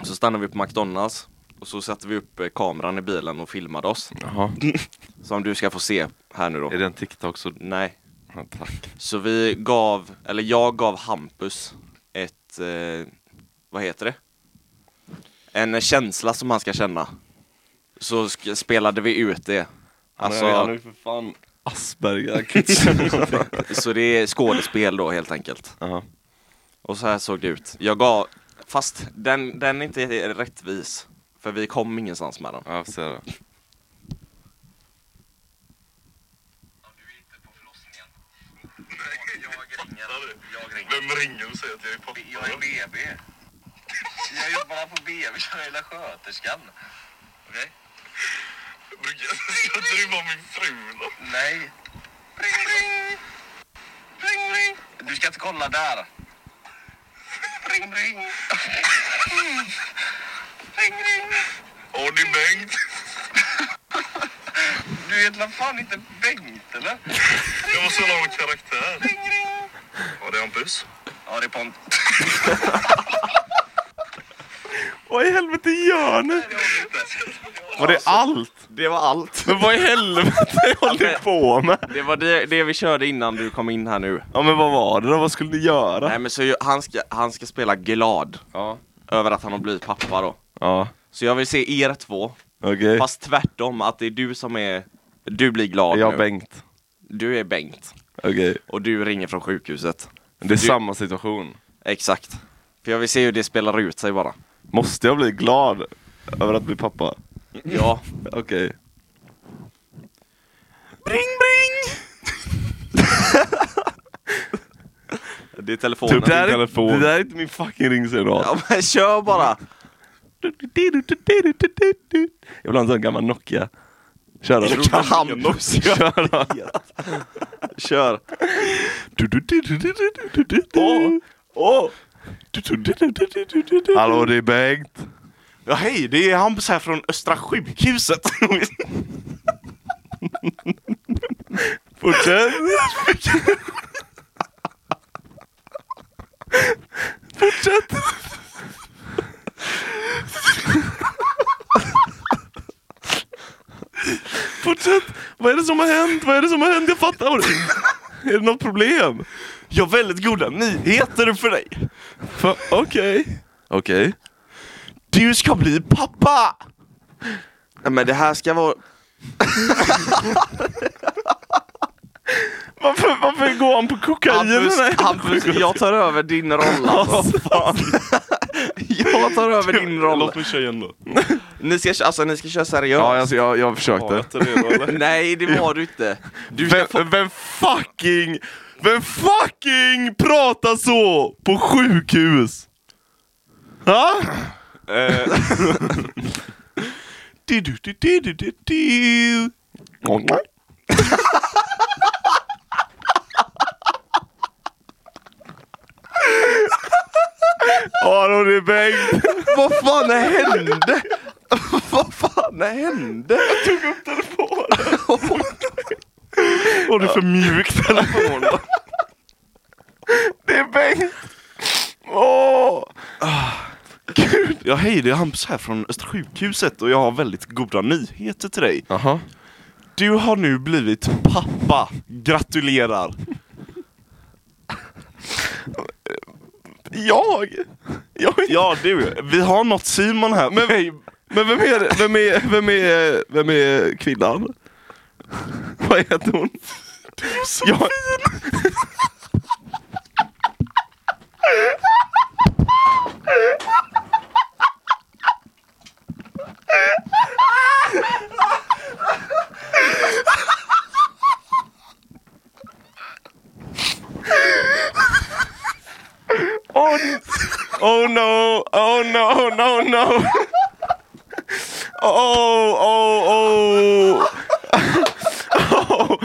C: Så stannade vi på McDonalds. Och så satte vi upp eh, kameran i bilen och filmade oss.
A: Jaha.
C: Som du ska få se här nu då.
A: Är det en TikTok så...
C: Nej.
A: Ja, tack.
C: Så vi gav, eller jag gav Hampus ett, eh, vad heter det? En känsla som han ska känna. Så sk- spelade vi ut det. Alltså,
A: för fan...
B: Asperger.
C: så det är skådespel då helt enkelt.
A: Jaha.
C: Och så här såg det ut. Jag gav, fast den, den är inte rättvis. För vi kom ingenstans med den.
A: Ja, jag får se det.
D: Vem ringer och säger att jag är pappa? Jag är BB. Jag jobbar på BB, jag är hela sköterskan. Okej? Brukar jag drömma om min fru då? Nej. Ring, ring! Ring, ring! Du ska inte kolla där. Ring, ring! Mm. Ring, ring! Åh, det är Bengt! Du heter väl fan inte Bengt, eller? Jag måste ha någon karaktär. Ring, ring! Ja, det är Hampus. Ja, det är Pont.
A: Vad i helvete gör ni? Var det allt?
C: Det var allt.
A: Men vad i helvete håller ni på med?
C: Det var det, det vi körde innan du kom in här nu.
A: Ja men vad var det då? Vad skulle ni göra?
C: Nej men så ju- han ska, han ska spela glad
A: Ja.
C: över att han har blivit pappa då.
A: Ja.
C: Så jag vill se er två,
A: Okej.
C: fast tvärtom att det är du som är, du blir glad
A: Jag
C: nu.
A: och Bengt.
C: Du är Bengt.
A: Okej.
C: Och du ringer från sjukhuset.
A: Det är samma situation.
C: Exakt. För jag vill se hur det spelar ut sig bara.
A: Måste jag bli glad över att bli pappa?
C: Ja.
A: Okej.
C: Det är telefonen.
A: Typ, Det, där är-
B: telefon.
A: det där är inte min fucking ringsignal.
C: Ja men kör bara!
A: Jag vill ha en sån gammal Nokia. Kör då.
C: Kan Hampus göra?
A: Kör då.
C: Kör!
A: Åh.
B: Åh!
A: Hallå det är Bengt.
B: Ja hej, det är Hampus här från Östra sjukhuset.
A: Fortsätt. Fortsätt! Vad är det som har hänt? Vad är det som har hänt? Jag fattar inte. Är det något problem?
B: Jag har väldigt goda nyheter för dig.
A: Fa- Okej. Okej.
B: Du ska bli pappa!
C: Nej men det här ska vara
A: Varför, varför går han på kokain?
C: Hampus,
A: den här jävla
C: Hampus,
A: frukosten?
C: jag tar över din roll alltså.
A: Fan.
C: Jag tar över din roll.
B: Låt mig köra igen då.
C: Ni ska, alltså, ni ska köra seriöst.
A: Ja, alltså, jag, jag
B: Var
A: försökte.
B: jag inte redo eller?
C: Nej, det var du inte. Du ska
A: Vem, vem fucking, vem fucking pratar så på sjukhus? Ha? Du, du, du, du, du, du, du. Aron är bängd.
C: Vad fan hände? Vad fan hände?
A: Var det för mjukt telefon? Det är Bengt. Åh.
B: Ah. Gud, jag hej det är Hampus här från Östra sjukhuset och jag har väldigt goda nyheter till dig.
A: Aha.
B: Du har nu blivit pappa. Gratulerar.
A: Jag? Jag är inte
B: Ja du, vi har något Simon här.
A: Men, men vem, är, vem, är, vem, är, vem är kvinnan? Vad heter hon? Du är så jag... Oh no, oh no, no, no. Oh, oh, oh. Oh,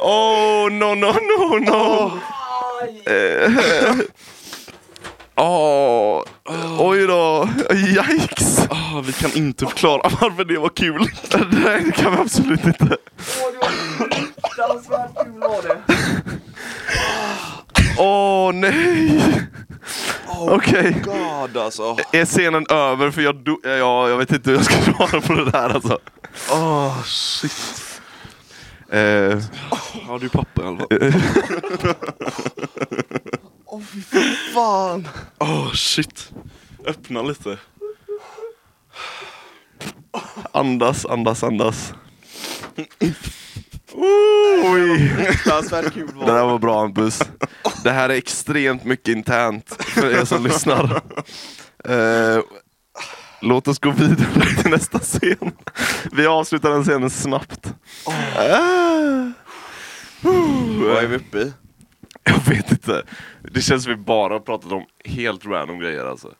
A: oh no, no, no, no. Eh, Åh, oj då. Yikes.
B: Ah, vi kan inte förklara varför det var kul.
A: Nej, det kan vi absolut inte. Åh, nej. Okej.
C: God alltså.
A: Är scenen över? För jag, do- ja, jag vet inte hur jag ska svara på det där alltså.
B: Ah shit.
A: Eh,
B: Ja du är pappa i alla fall.
C: Fan.
B: Ah shit. Öppna lite.
A: andas, andas, andas. Oj!
C: Fruktansvärt kul
A: Det där var bra Hampus. Det här är extremt mycket internt för er som lyssnar. Eh, låt oss gå vidare till nästa scen. Vi avslutar den scenen snabbt. Eh,
C: Vad är vi uppe i?
A: jag vet inte. Det känns som vi bara har pratat om helt random grejer alltså.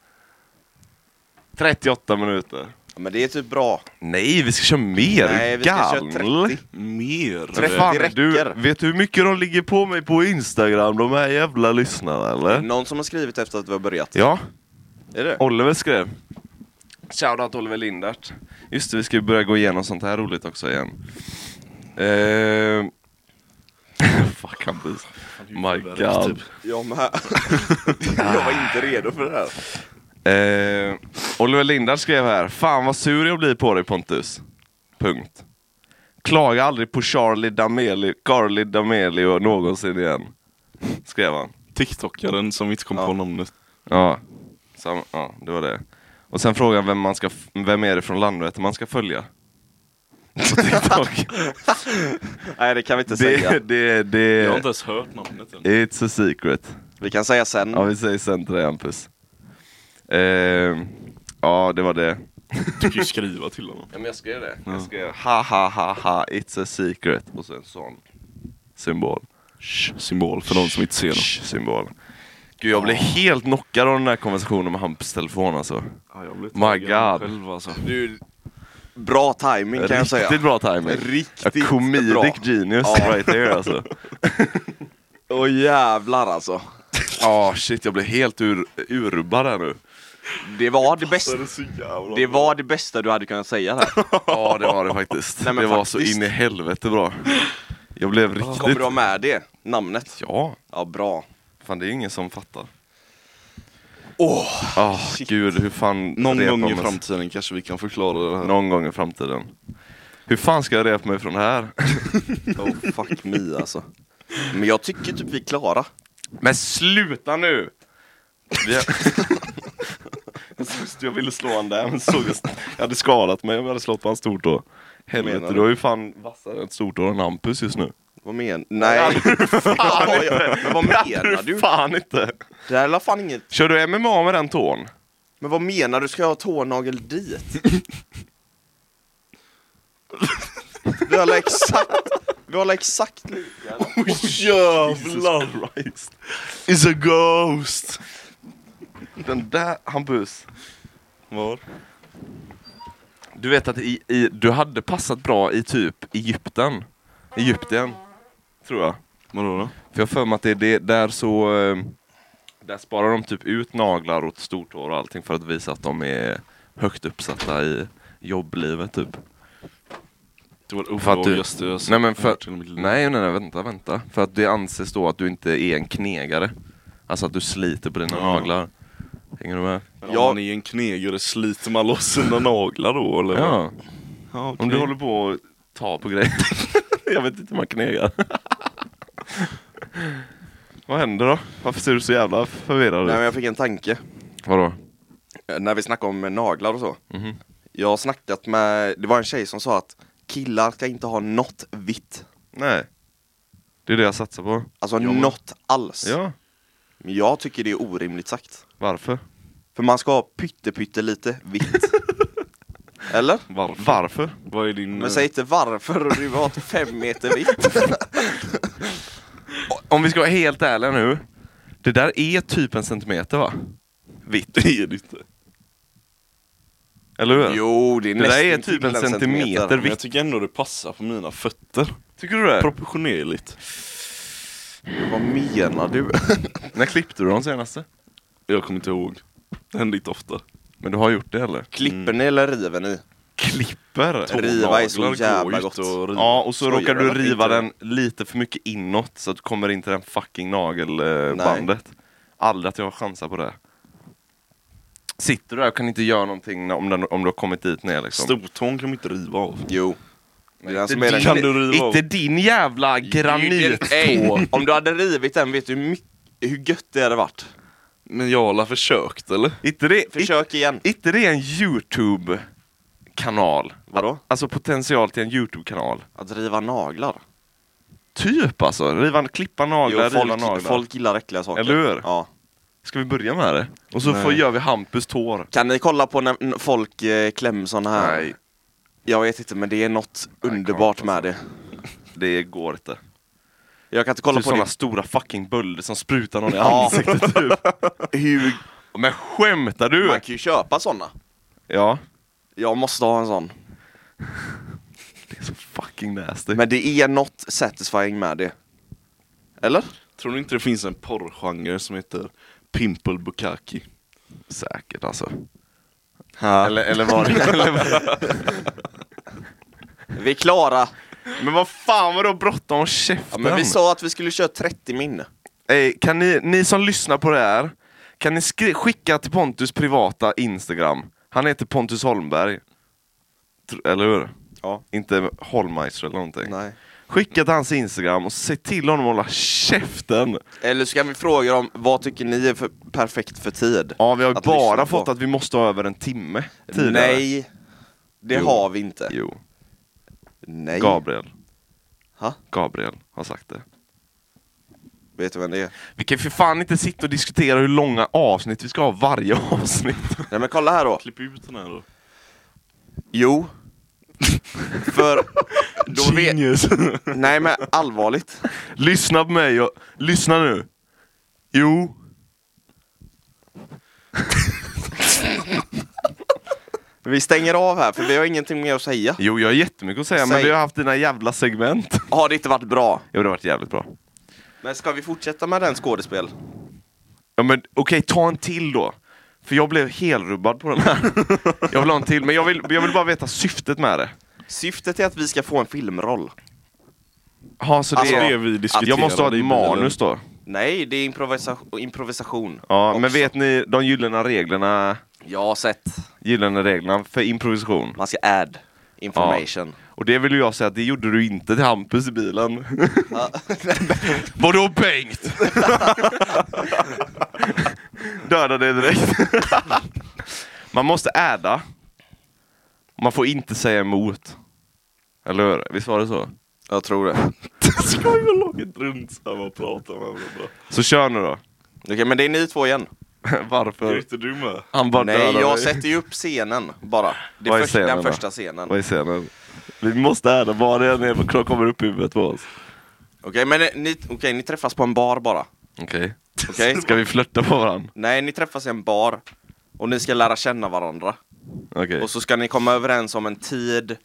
A: 38 minuter.
C: Ja, men det är typ bra.
A: Nej, vi ska köra mer.
C: Nej, vi ska köra
A: Gammal.
C: 30.
B: Mer.
A: Men
C: 30
A: fan,
C: räcker.
A: du, vet du hur mycket de ligger på mig på Instagram, de här jävla lyssnarna eller?
C: Någon som har skrivit efter att vi har börjat?
A: Ja,
C: Är det?
A: Oliver skrev. Shoutout Oliver Lindert. Just det, vi ska ju börja gå igenom sånt här roligt också igen. Ehm... Fuck Hampus. My god.
C: Jag med. jag var inte redo för det här.
A: Ehm, Oliver Lindert skrev här. Fan vad sur jag blir på dig Pontus. Punkt. Klaga aldrig på Charlie D'Amelio, Carly D'Amelio någonsin igen. Skrev han.
B: Tiktokaren som vi inte kom på namnet.
A: Ja. Sam, ja, det var det. Och sen frågan vem, man ska, f- vem är det från Landvetter man ska följa? På TikTok.
C: Nej, det kan vi inte
A: det,
C: säga.
A: det,
B: Jag har
A: det,
B: inte ens hört namnet än.
A: it's a secret.
C: Vi kan säga sen.
A: Ja, vi säger sen till dig Hampus. Ehm, ja, det var det.
B: Du kan ju skriva till honom.
A: Ja, men jag skrev det. Jag skrev ha ha ha ha, it's a secret. Och så en sån symbol.
B: Symbol för de som inte ser den.
A: Sh, symbol. Gud, jag blev helt knockad av den här konversationen med Hampus telefon alltså. My god.
B: Själv, alltså.
C: Du, bra timing kan jag säga.
A: Riktigt bra timing.
C: Riktigt
A: A comedic
C: bra.
A: genius
C: Ja.
A: right there alltså.
C: Åh jävlar alltså.
A: Ja shit, jag blev helt ur, urrubbad här nu.
C: Det var det bästa.
A: Alltså,
B: Det är så jävla
C: Det var det bästa du hade kunnat säga där.
A: Ja det var det faktiskt.
C: Nej, men
A: det var
C: faktiskt.
A: så in i helvete bra. Jag blev riktigt...
C: Kommer du ha med det? Namnet?
A: Ja,
C: Ja, bra.
A: fan det är ingen som fattar.
C: Åh!
A: Ah gud, hur fan...
B: Någon
A: repar
B: gång i
A: man-
B: framtiden kanske vi kan förklara det här.
A: Någon gång i framtiden. Hur fan ska jag repa mig från det här?
C: Oh fuck me alltså. Men jag tycker typ vi är klara.
A: Men sluta nu! Vi har... jag ville slå han där men såg jag... jag hade skadat mig om jag hade slått på hans stort då. Helvete,
C: menar
A: du har ju fan vassare ett stort än Hampus just nu.
C: Vad menar Nej! Fan, vad jag- men vad menar
A: du
C: du?
A: fan inte!
C: Det här är la fan inget...
A: Kör du MMA med den tån?
C: Men vad menar du? Ska jag ha tånagel dit? Vi har alla exakt... Vi har alla exakt lika.
A: Oh, jävlar! Christ. It's a ghost! Den där Hampus.
B: Var?
A: Du vet att i, i, du hade passat bra i typ Egypten. Egypten, tror jag.
B: Vadå då?
A: För jag har för mig att det är det, där så... eh, Där sparar de typ ut naglar och stortår och allting för att visa att de är högt uppsatta i jobblivet typ.
B: Det var det
A: För att du-
B: obehagligaste jag sett
A: Nej men för
B: i
A: att,
B: hela mitt liv.
A: nej, nej nej vänta vänta. För att det anses då att du inte är en knegare. Alltså att du sliter på dina
B: Ja.
A: naglar. Hänger du med?
B: Men om
C: Jag-
B: man är en knegare, sliter man loss sina naglar då eller? vad?
A: Ja,
B: ja
A: om du håller på att ta på grejer. jag vet inte hur man knegar. Vad händer då? Varför ser du så jävla förvirrad
C: Nej men
A: ut?
C: jag fick en tanke.
A: Vadå?
C: Eh, När vi snackade om eh, naglar och så.
A: Mhm.
C: Jag har snackat med... Det var en tjej som sa att killar ska inte ha något vitt.
A: Nej. Det är det jag satsar på.
C: Alltså något alls.
A: Ja.
C: Men jag tycker det är orimligt sagt.
A: Varför?
C: För man ska ha pytte pytte lite vitt. Eller?
A: Varför? Varför?
B: Vad är din...
C: Men säg inte varför och du vill ha ett fem meter vitt.
A: Om vi ska vara helt ärliga nu. Det där är typ en centimeter va?
B: vitt? Det är det inte.
A: Eller hur?
C: Jo, det är
A: Det där är
C: nästan
A: typ
C: till
A: en centimeter.
B: Men jag
A: vitt.
B: tycker ändå det passar på mina fötter.
A: Tycker du det?
B: Proportionerligt.
C: Vad menar du?
A: När klippte du de senaste?
B: Jag kommer inte ihåg. Det händer inte ofta.
A: Men du har gjort det eller?
C: Klipper ni eller river ni?
A: Klipper?
C: Riva är så
B: Naglar går
C: jävla
B: ut
C: gott.
B: och riva.
A: Ja, och så
C: Skojar
A: råkar du
C: du?
A: riva
C: Inte.
A: den lite för mycket inåt så att du kommer in till den fucking nagelbandet. Aldrig att jag chansar på det. Sitter du där och kan inte göra någonting när- om, den, om du har kommit dit ner liksom?
B: Stortån kan man inte riva av.
C: Jo. Det är den som är
A: Inte din,
C: den
B: Kan du riva av?
A: inte din jävla granit!
C: Ey, om du hade rivit den, vet du hur, mycket, hur gött det hade varit?
B: Men jag har alla försökt eller?
A: Inte det,
C: Försök igen.
A: inte det är en YouTube-kanal?
C: Vadå?
A: Alltså potential till en YouTube-kanal.
C: Att riva naglar.
A: Typ alltså, riva, klippa naglar,
C: Jo,
A: riva
C: folk,
A: naglar.
C: folk gillar äckliga saker.
A: Eller hur?
C: Ja.
A: Ska vi börja med det? Och så
B: Nej.
A: får, gör vi Hampus tår.
C: Kan ni kolla på när n- folk eh, klämmer såna här?
A: Nej.
C: Jag vet inte, men det är något underbart med det.
A: Det går inte.
C: Jag kan inte kolla
A: typ
C: på
A: sådana
C: det.
A: stora fucking bölder som sprutar någon i
C: Ja.
A: ansiktet typ.
C: Hur...
A: Men skämtar du?
C: Man kan ju köpa såna.
A: Ja.
C: Jag måste ha en sån.
A: Det är så fucking nasty.
C: Men det är något satisfying med det. Eller?
B: Tror du inte det finns en porrgenre som heter Pimple Bukaki?
A: Säkert alltså.
C: Ja.
A: Eller, eller var det... eller var...
C: Vi är klara.
A: Men vad fan var då bråttom? Håll
C: Ja,
A: käften!
C: men vi sa att vi skulle köra 30 min.
A: Ey, kan ni, ni som lyssnar på det här, kan ni skri- skicka till Pontus privata Instagram? Han heter Pontus Holmberg. Tr- eller hur?
C: Ja.
A: Inte Holmeister eller någonting.
C: Nej.
A: Skicka till hans Instagram och se till honom att hålla käften!
C: Eller så kan vi fråga dem, vad tycker ni är för perfekt för tid?
A: Ja, vi har ju
C: Att
A: bara
C: lyssna
A: fått
C: på.
A: att vi måste ha över en timme tidigare.
C: Nej, det
A: Jo.
C: har vi inte.
A: Jo,
C: Nej.
A: Gabriel.
C: Ha?
A: Gabriel har sagt det.
C: Vet du vem det är?
A: Vi kan för fan inte sitta och diskutera hur långa avsnitt vi ska ha varje avsnitt.
C: Nej men kolla här då.
B: Klipp ut den här då.
C: Jo. för då vet...
B: Genius!
C: Nej men allvarligt.
A: lyssna på mig och... Lyssna nu! Jo.
C: Vi stänger av här för vi har ingenting mer att säga.
A: Jo, jag har jättemycket att säga men
C: Säg.
A: vi har haft dina jävla segment.
C: Har det inte varit bra?
A: Jo, det har varit jävligt bra.
C: Men ska vi fortsätta med den skådespel?
A: Ja men okej, ta en till då. För jag blev helrubbad på den här. jag vill ha en till, men jag vill, jag vill bara veta syftet med det.
C: Syftet är att vi ska få en filmroll.
A: Ja, så det
C: Alltså,
A: är...
B: det vi diskuterar.
A: Jag måste ha
B: i
A: ett
B: bilen.
A: manus då.
C: Nej, det är improvisa- improvisation.
A: Ja,
C: också.
A: men vet ni de gyllene reglerna,
C: Jag har sett.
A: gyllene reglerna för improvisation?
C: Man ska add information.
A: Och det vill ju jag säga att det gjorde du inte till Hampus i bilen. Vadå Bengt? Dödade det direkt. Man måste äda. Man får inte säga emot. Eller hur? Visst var det så?
C: Jag tror det.
B: Ska vi väl åka runt samma och prata med varandra?
A: Så kör nu då.
C: Okej, men det är ni två igen.
B: Är
A: Varför?
B: inte du med?
A: Han bara
C: Nej,
A: dödar
C: jag
A: mig.
C: sätter ju upp scenen bara. Det
A: Vad är
C: först,
A: scenen
C: den
A: då?
C: första scenen.
A: Vad är scenen? Vi måste äda vad det än är kommer upp i huvudet på oss.
C: Okej, men eh, ni, okej, ni träffas på en bar bara.
A: Okej.
C: Okej?
A: Ska vi flörta på varandra?
C: Nej, ni träffas i en bar. Och ni ska lära känna varandra.
A: Okej.
C: Och så ska ni komma överens om en tid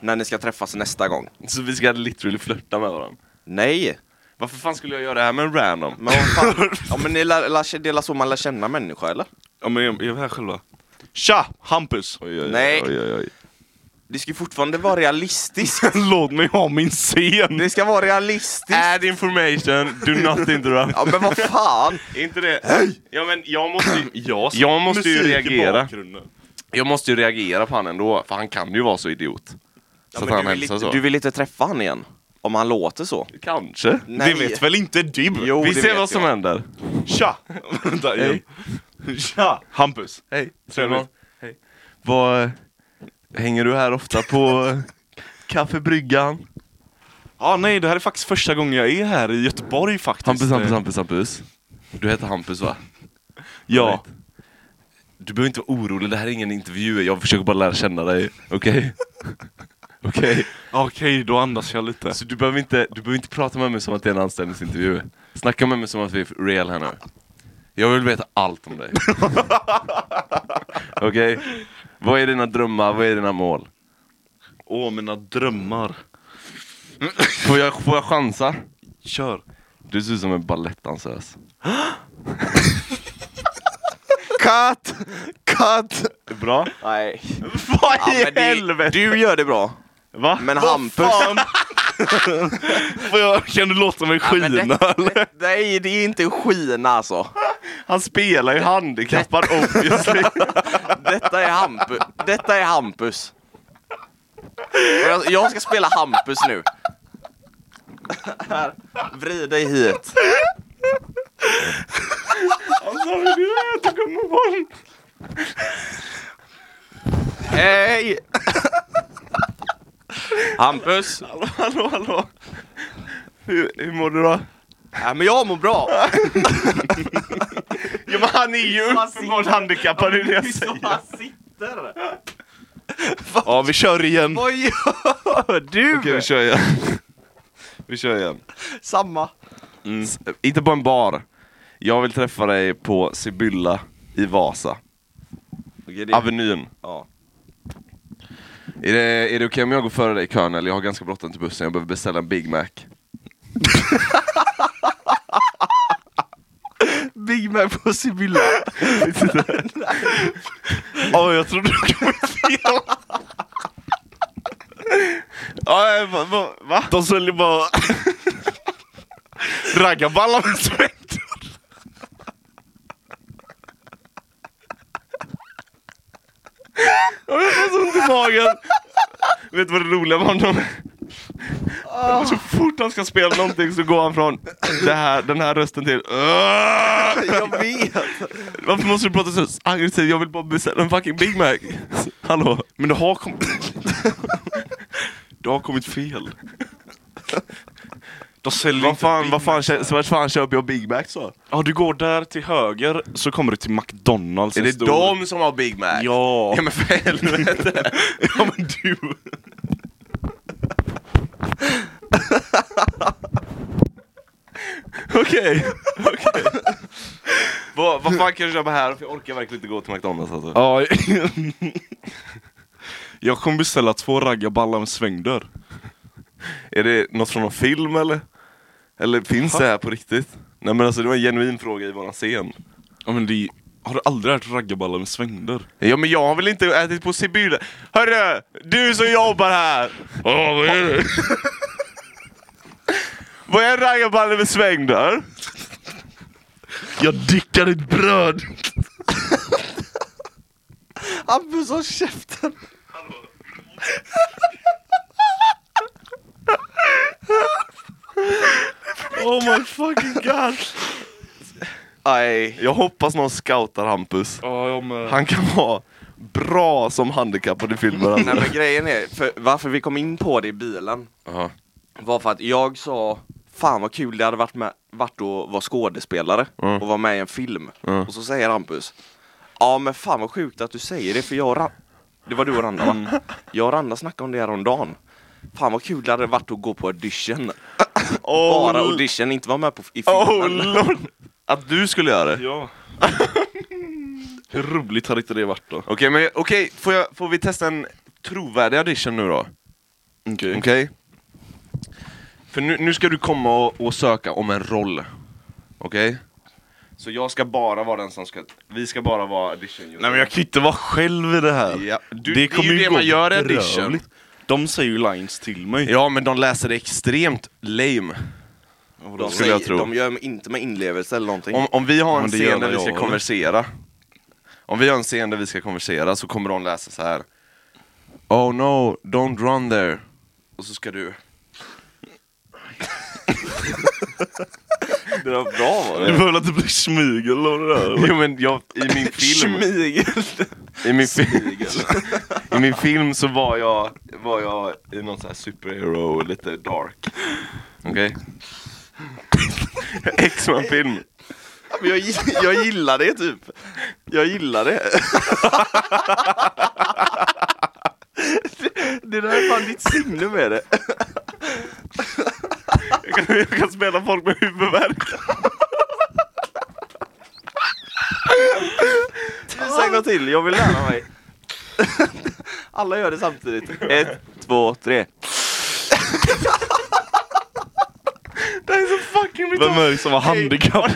C: när ni ska träffas nästa gång.
A: Så vi ska literally flörta med varandra?
C: Nej!
A: Varför fan skulle jag göra det här med en random?
C: Men vad fan? ja, men ni lär, lär, det är väl så man lär känna människor eller?
B: Ja men jag, jag är här själva. Tja! Hampus!
A: Oj, oj, oj,
C: Nej.
A: Oj, oj, oj.
C: Det ska ju fortfarande vara realistiskt.
B: Låt mig ha min scen!
C: Det ska vara realistiskt.
A: Add information, do not interrupt.
C: Ja men vad fan!
A: inte det? Ja men jag måste ju, jag, måste ju reagera. Jag måste ju reagera på han ändå, för han kan ju vara så idiot. så att han hälsar så.
C: Du vill inte träffa han igen? Om han låter så?
A: Kanske.
C: Nej.
B: Det vet väl inte du?
C: Jo,
A: vi
C: det
A: ser
C: vet
A: vad som
C: jag.
A: händer.
B: Tja! Vänta, igen. Tja! Hampus!
A: Hej,
B: Simon.
A: Hej. Vad, hänger du här ofta på eh, kaffebryggan?
B: Ja nej, det här är faktiskt första gången jag är här i Göteborg faktiskt.
A: Hampus, Hampus, Hampus, Hampus. Du heter Hampus va?
B: Ja.
A: Du behöver inte vara orolig, det här är ingen intervju. Jag försöker bara lära känna dig, okej? okej?
B: Okej, då andas jag lite.
A: Så du behöver, inte, du behöver inte prata med mig som att det är en anställningsintervju. Snacka med mig som att vi är real här nu. Jag vill veta allt om dig. Okej? Vad är dina drömmar? Vad är dina mål?
B: Åh, mina drömmar.
A: Får jag, får jag chansa?
B: Kör.
A: Du ser ut som en balettdansös.
C: Cut! Cut!
A: Bra?
C: Nej.
A: Vad
C: Ja, men det, du gör det bra.
A: Va?
C: Men Hampus...
B: Får jag, kan du låta mig
C: Ja, men det-
B: skina?
C: det- Nej, det är inte en skina alltså.
A: Han spelar ju handikappad obviously.
C: Detta är, Hampu, detta är Hampus. Och Jag, jag ska spela Hampus nu. Här, vrid dig hit.
A: Alltså,
C: Hej! Hampus!
A: hallå, hallå. Hur, hur mår du då?
C: Ja, men jag mår bra.
A: Ja, men han är ju uppenbart handikappad, det är det jag säger.
B: Ja, vi kör igen.
C: Vad gör du?
A: Okej, vi kör igen. vi kör igen. Mm.
C: Samma.
A: S- Inte på en bar. Jag vill träffa dig på Sibylla i Vasa. Avenyn.
C: Ja.
A: Är det, är det okej om jag går före dig i kön eller jag har ganska bråttom till bussen, jag behöver beställa en Big Mac.
C: Big Mac på Sibylla.
A: Ja, jag trodde du kom fel. Ja, eh, va, va, va?
B: De säljer bara raggarballar med smält.
A: Ont i magen. Vet du vad det roliga var honom? Så fort han ska spela någonting så går han från det här, den här rösten till
C: Jag vet.
A: Varför måste du prata så aggressivt? Jag vill bara beställa en fucking Big Mac. Hallå?
B: Men du har kommit... du har kommit fel. De säljer
A: Vad
B: inte
A: fan,
B: Big
A: vad fan,
B: Mac.
A: kö- så vart fan köper jag Big Mac så?
B: Ja, du går där till höger så kommer du till McDonalds. en stor-
A: som har Big Mac? Ja.
B: Ja.
A: men för helvete.
B: ja, men du.
A: Okej. okej. Vad vad fan kan jag köpa här? För jag orkar verkligen inte gå till McDonalds alltså.
B: Ja. Jag kommer beställa två raggarballar med svängdörr.
A: Är det något från någon film eller? Eller finns det här på riktigt? Nej men alltså det var en genuin fråga i våran scen.
B: Ja, men det... Har du aldrig ätit raggarballar med svängdörr?
A: Ja men jag har väl inte ätit på Sibylla? Hörru! Du som jobbar här! Ja vad är det? Vad är en raggarballe med svängdörr?
B: Jag dickar ditt bröd!
C: Hampus har käften.
A: Oh my fucking god!
C: Aj.
A: Jag hoppas någon scoutar Hampus.
B: Ja, jag med.
A: Han kan vara bra som handikappad i filmer
C: Nej
A: alltså.
C: men grejen är, för varför vi kom in på det i bilen
B: Jaha.
C: var för att jag sa Fan vad kul det hade varit, med, varit att vara skådespelare
A: Mm.
C: och vara med i en film. Och så säger Hampus Ja men fan vad sjukt att du säger det för jag och Ra- Det var du och Randa va?
A: Mm.
C: Jag och Randa snackade om det här om dagen. Fan vad kul det hade varit att gå på audition. Bara audition, inte vara med på, i
A: Oh
C: filmen.
A: lord! Att du skulle göra det?
B: Ja. Hur roligt hade inte det varit då?
A: Okej, men okej, får, jag- får vi testa en trovärdig audition nu då?
B: Okej.
A: Okej? För nu, nu ska du komma och, och söka om en roll. Okej? Så jag ska bara vara den som ska... Vi ska bara vara audition
B: Nej men jag kan inte vara själv i det här.
A: Ja, du,
B: Det,
A: det,
B: kommer
A: är ju det
B: gå
A: man gör i audition.
B: bedrövligt. De säger ju lines till mig.
A: Ja, men de läser det extremt lame.
B: Och
C: De,
B: då
A: skulle jag
C: säger,
A: tro.
C: de gör inte med inlevelse eller någonting.
A: Om, om vi har en
B: Men det gör
A: scen där
B: väl
A: vi ska
B: jag, eller?
A: konversera Om vi har en scen där vi ska konversera så kommer de läsa så här. Oh no, don't run there Och så ska du
C: det var bra var
B: Du behöver inte bli smygel av det där.
A: Jo men jag, i min film
C: Smygel!
A: I min, fi- I min film så var jag, var jag i någon sån här superhero, lite dark Okej? X-Man-film
C: Men jag, gi- jag gillar det typ. Jag gillar det. Det- Det där är fan ditt signum med det.
A: jag, kan- jag kan spela folk med huvudvärk
C: Säg något till, jag vill lära mig. Alla gör det samtidigt. Ett, två, tre.
A: Det här är så fucking
B: Vem är det som var handikappad?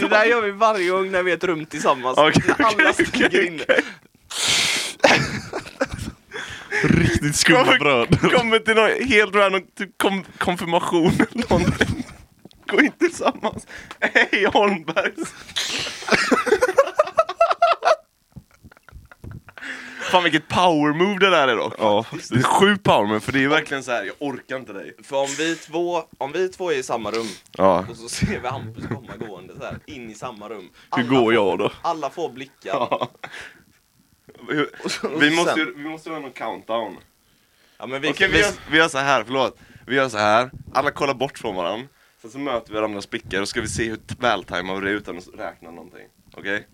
C: Det där gör vi varje gång när vi är ett rum tillsammans.
A: Okej, okej,
C: Alla stiger
A: okej,
C: in.
B: Riktigt skumma bröder.
A: Kommer till någon helt random typ kom, konfirmation eller någonting. Gå in tillsammans. Hej Holmbergs! Fan vilket power move det där är dock.
B: Ja,
A: Det är sjukt power move för det är verkligen så här. jag orkar inte dig.
C: För om vi, två, om vi två är i samma rum
A: Ja.
C: och så ser vi Hampus komma gående så här, in i samma rum.
B: hur går jag då?
C: Alla får blickar. Och så- och
A: Vi
C: så
A: måste,
C: sen-
A: ju- vi måste göra någon countdown.
C: Ja, men vi,
A: Okej vi, gör, vi gör så här, förlåt. Vi gör så här. alla kollar bort från varandra. Sen så möter vi varandras blickar och ska vi se hur t- vältajmade vi är utan att räkna någonting. Okej?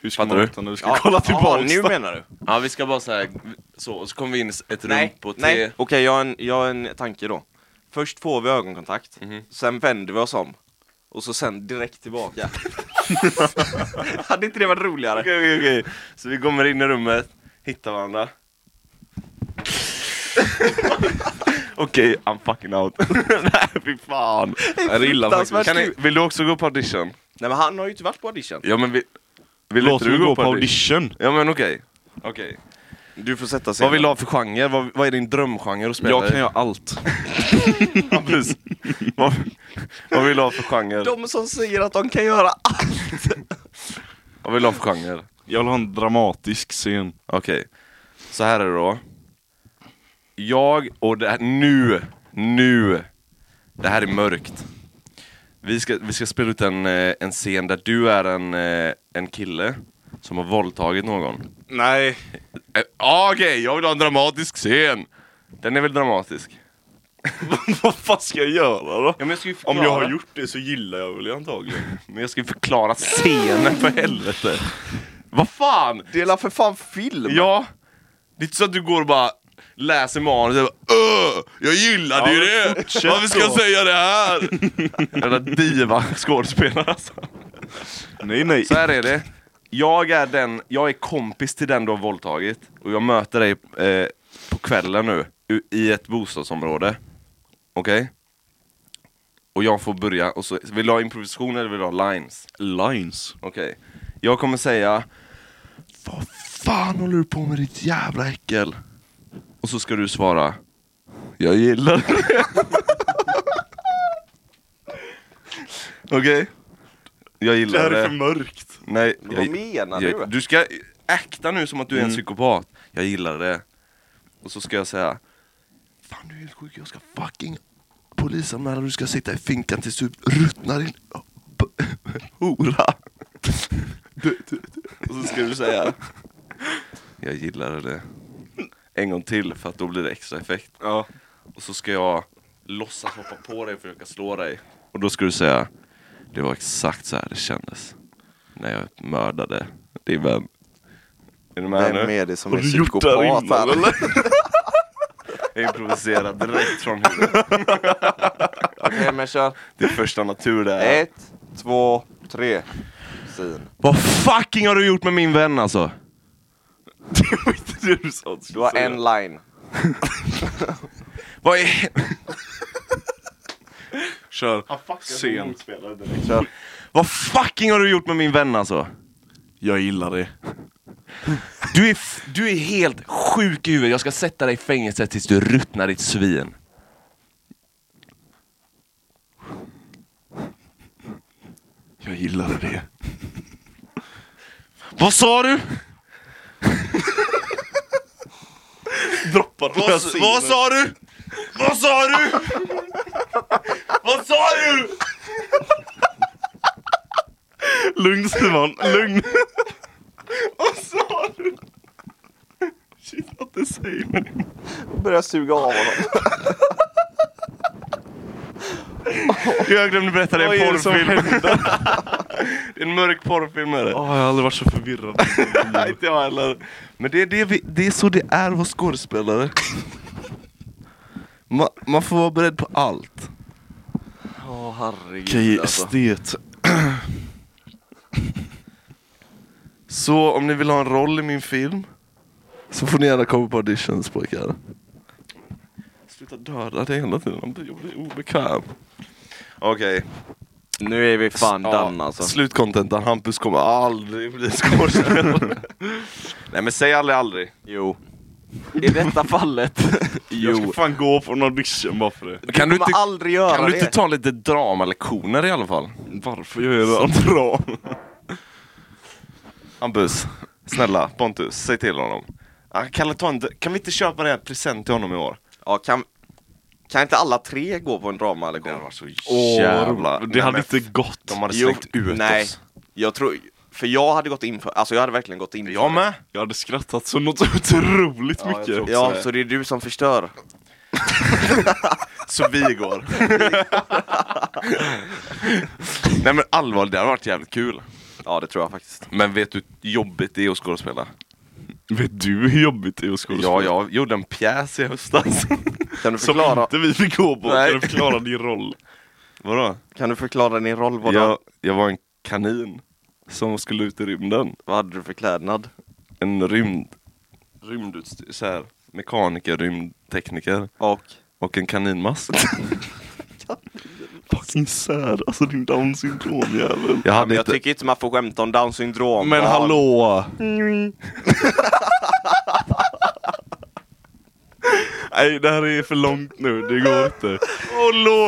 B: Hur ska
A: Fattar
B: man
A: du?
B: veta när du ska kolla tillbaka?
C: nu menar du?
A: Ja vi ska bara så här, så, och så kommer vi in i ett rum
C: Nej,
A: på
C: nej.
A: tre...
C: Okej, jag, har en- jag har en tanke då. Först får vi ögonkontakt, sen vänder vi oss om. Och så sen direkt tillbaka. Hade inte det varit roligare?
A: Okej okej okej, så vi kommer in i rummet, hittar varandra. okej, I'm fucking out. nej fy fan.
B: Är det illa faktiskt?
C: Fruktansvärt
A: Kan ni,
C: kul.
A: vill du också gå på audition?
C: Nej men han har ju inte varit på audition.
A: Ja men vi, vill
B: Låt
A: inte
B: mig gå på audition.
A: Ja men okej. Okej.
C: Du får sätta sig.
A: Vad vill du ha för genre? Vad, vad är din drömgenre att spela
B: Jag kan
A: i?
B: göra allt.
A: Ja, precis. vad, vad vill du ha för genre?
C: De som säger att de kan göra allt.
A: Vad vill du ha för genre?
B: Jag vill ha en dramatisk scen.
A: Okej, så här är det då. Jag och det här, nu, nu. Det här är mörkt. Vi ska, vi ska spela ut en, eh, en scen där du är en, eh, en kille som har våldtagit någon.
B: Nej.
A: Eh, ah, Okej, jag vill ha en dramatisk scen! Den är väl dramatisk?
B: Vad fan ska jag göra då?
A: men jag ska ju
B: Om jag har gjort det så gillar jag väl det antagligen.
A: Men jag ska ju förklara scenen för helvete! Vad fan!
C: Dela för fan film.
A: Ja, det är inte så att du går och bara läser manus och bara "Öh, Jag gillade ju
B: men
A: det!
B: fortsätt
A: Varför ska jag
B: då."
A: säga det här? Jävla diva skådespelare alltså.
B: Nej nej.
A: Så här är det. Jag är, den, jag är kompis till den du har våldtagit och jag möter dig eh, på kvällen nu u- i ett bostadsområde. Okej? Och jag får börja och så, vill du ha improvisation eller vill du ha lines?
B: Lines.
A: Okej. Jag kommer säga Vad fan håller du på med ditt jävla äckel? Och så ska du svara Jag gillar det. Okej? Jag
B: Det här
A: gillar
B: är
A: det.
B: för mörkt.
A: Nej,
C: Men vad menar
A: jag,
C: du?
A: Du ska akta nu som att du är en
B: Mm.
A: psykopat. Jag gillar det. Och så ska jag säga Fan du är helt sjuk, jag ska fucking polisanmäla du ska sitta i finkan tills du ruttnar din b- hora. Och så ska du säga Jag gillade det. En gång till för att då blir det extra effekt.
C: Ja.
A: Och så ska jag låtsas hoppa på dig och försöka slå dig. Och då ska du säga, det var exakt så här det kändes. När jag mördade din vän. Är du med
C: Vem
A: nu?
C: är det som är
B: du gjort det här
C: psykopat
B: innan,
C: här?
A: Jag improviserar direkt från huvudet.
C: Okej men kör.
A: Det är första natur det är.
C: Ett, två, tre. Sin.
A: Vad fucking har du gjort med min vän alltså?
B: Det var inte det du sa.
C: Du har en line.
A: Vad är...
B: Kör. Sent.
C: Kör.
A: Vad fucking har du gjort med min vän alltså?
B: Jag gillar det.
A: Du är, f- du är helt sjuk i huvudet. Jag ska sätta dig i fängelse tills du ruttnar ditt svin.
B: Jag gillar det.
A: Vad sa du?
B: Droppar
A: Vad, vad sa du? Vad sa du? vad sa du?
B: Lugn Simon, lugn.
A: Vad sa du? Shit att du säger mig.
C: Börjar suga av honom.
A: Jag glömde berätta det är
B: Vad
A: en
B: är det som
A: porrfilm. det är en mörk porrfilm är det.
B: Åh, Ah, jag har aldrig varit så förvirrad.
A: Nej, inte jag heller. Men det är, det, vi, det är så det är att vara skådespelare. Man, man får vara beredd på allt.
C: Åh herregud
B: Okej,
C: alltså.
B: estet.
A: Så om ni vill ha en roll i min film så får ni gärna komma på auditions pojkar. Sluta döda det hela tiden, jag blir obekväm. Okej,
C: Nu är vi fan
A: Ja,
C: done alltså.
A: slutcontenten. Hampus kommer aldrig bli skådespelare. Nej men säg aldrig aldrig.
C: Jo. I detta fallet.
B: Jag ska fan gå på en audition bara för det.
A: Kan
C: Du kommer aldrig göra
A: Kan du inte
C: det.
A: ta lite dramalektioner i alla fall?
B: Varför gör jag det? Bra.
A: Hampus, snälla Pontus, säg till honom. Ah, Kalle, ta en, kan vi inte köpa en present till honom i år?
C: Ja, kan, kan inte alla tre gå på en liksom? dramalektion?
A: så
B: Jävlar. Det
A: Nej,
B: hade
A: men
B: inte gått.
A: De hade
C: Jo,
A: slängt ut
C: nej.
A: oss.
C: Jag tror, för jag hade gått in för, alltså jag hade verkligen gått in för
A: Jag med.
B: Jag hade skrattat så något otroligt
A: Ja, jag
B: mycket.
A: tror
C: det. Ja, så det är du som förstör.
A: Så vi går. nej men allvarligt, det hade varit jävligt kul.
C: Ja, det tror jag faktiskt.
A: Men vet du hur jobbigt det är att skådespela?
B: Vet du hur jobbigt det är att
A: Ja,
B: skådespela?
A: jag gjorde en pjäs i höstas.
C: Kan du
B: Som
C: förklara,
B: inte vi fick gå på.
A: Nej.
B: Kan du förklara din roll?
A: Vadå?
C: kan du förklara din roll? Vad,
A: Jag, jag var en kanin som skulle ut i rymden.
C: vad hade du för klädnad?
A: en rymd... Rymdutstyr, så här, mekaniker, rymdtekniker
C: Och?
A: och en kaninmask.
B: Fucking sad. Alltså din down syndrom jävel.
A: Jag
C: Ja, men
A: hade
C: jag
A: inte...
C: tycker inte man får skämta om down syndrom.
B: Men
C: barn.
B: hallå! Nej det här är för långt nu, det går inte.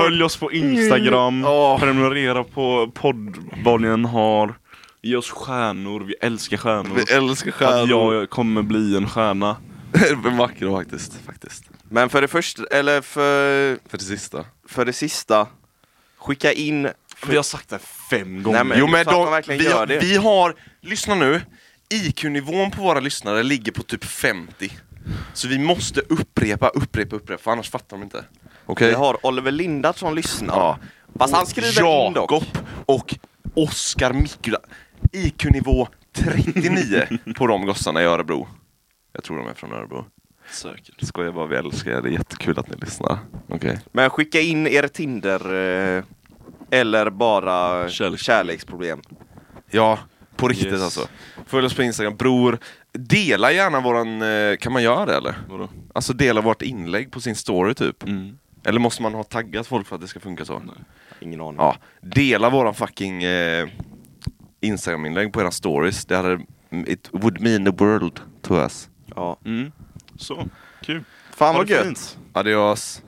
B: Följ oss på Instagram, prenumerera på poddbollen har, ge oss stjärnor, vi älskar stjärnor.
A: Vi älskar
B: Att
A: stjärnor.
B: jag kommer bli en stjärna.
A: Men vackra faktiskt, faktiskt.
C: Men för det första, eller för,
A: För det sista.
C: för det sista, skicka in...
B: Vi har sagt det fem gånger.
C: Nej, men-
A: jo men
C: så att man
A: de,
C: verkligen
A: vi,
C: gör
A: har,
C: det.
A: vi har, lyssna nu. IQ-nivån på våra lyssnare ligger på typ 50. Så vi måste upprepa, upprepa, upprepa, för annars fattar de inte. Okej?
C: Vi har Oliver Lindart som lyssnar.
A: Ja.
C: Fast han skriver in dock.
A: Jakob och Oskar Mikula. IQ-nivå 39 på de gossarna i Örebro. Jag tror de är från Örebro.
B: Säkert.
A: Skojar bara, vi älskar er. Det är jättekul att ni lyssnar. Okej.
C: Men skicka in er Tinder eh, eller bara
B: Kärleks-
C: kärleksproblem.
A: Ja, på riktigt
B: Yes.
A: alltså. Följ oss på Instagram, bror. Dela gärna våran... eh, Kan man göra det eller?
B: Vadå?
A: Alltså dela vårt inlägg på sin story typ.
B: Mm.
A: Eller måste man ha taggat folk för att det ska funka så?
C: Ingen aning.
A: Ja, dela våran fucking eh, Instagram-inlägg på era stories. Det hade, it would mean the world to us.
C: Ja.
B: Mm. Så, kul.
C: Fan
B: Ha
C: vad
B: det
C: gött.
B: fint.
A: Adios.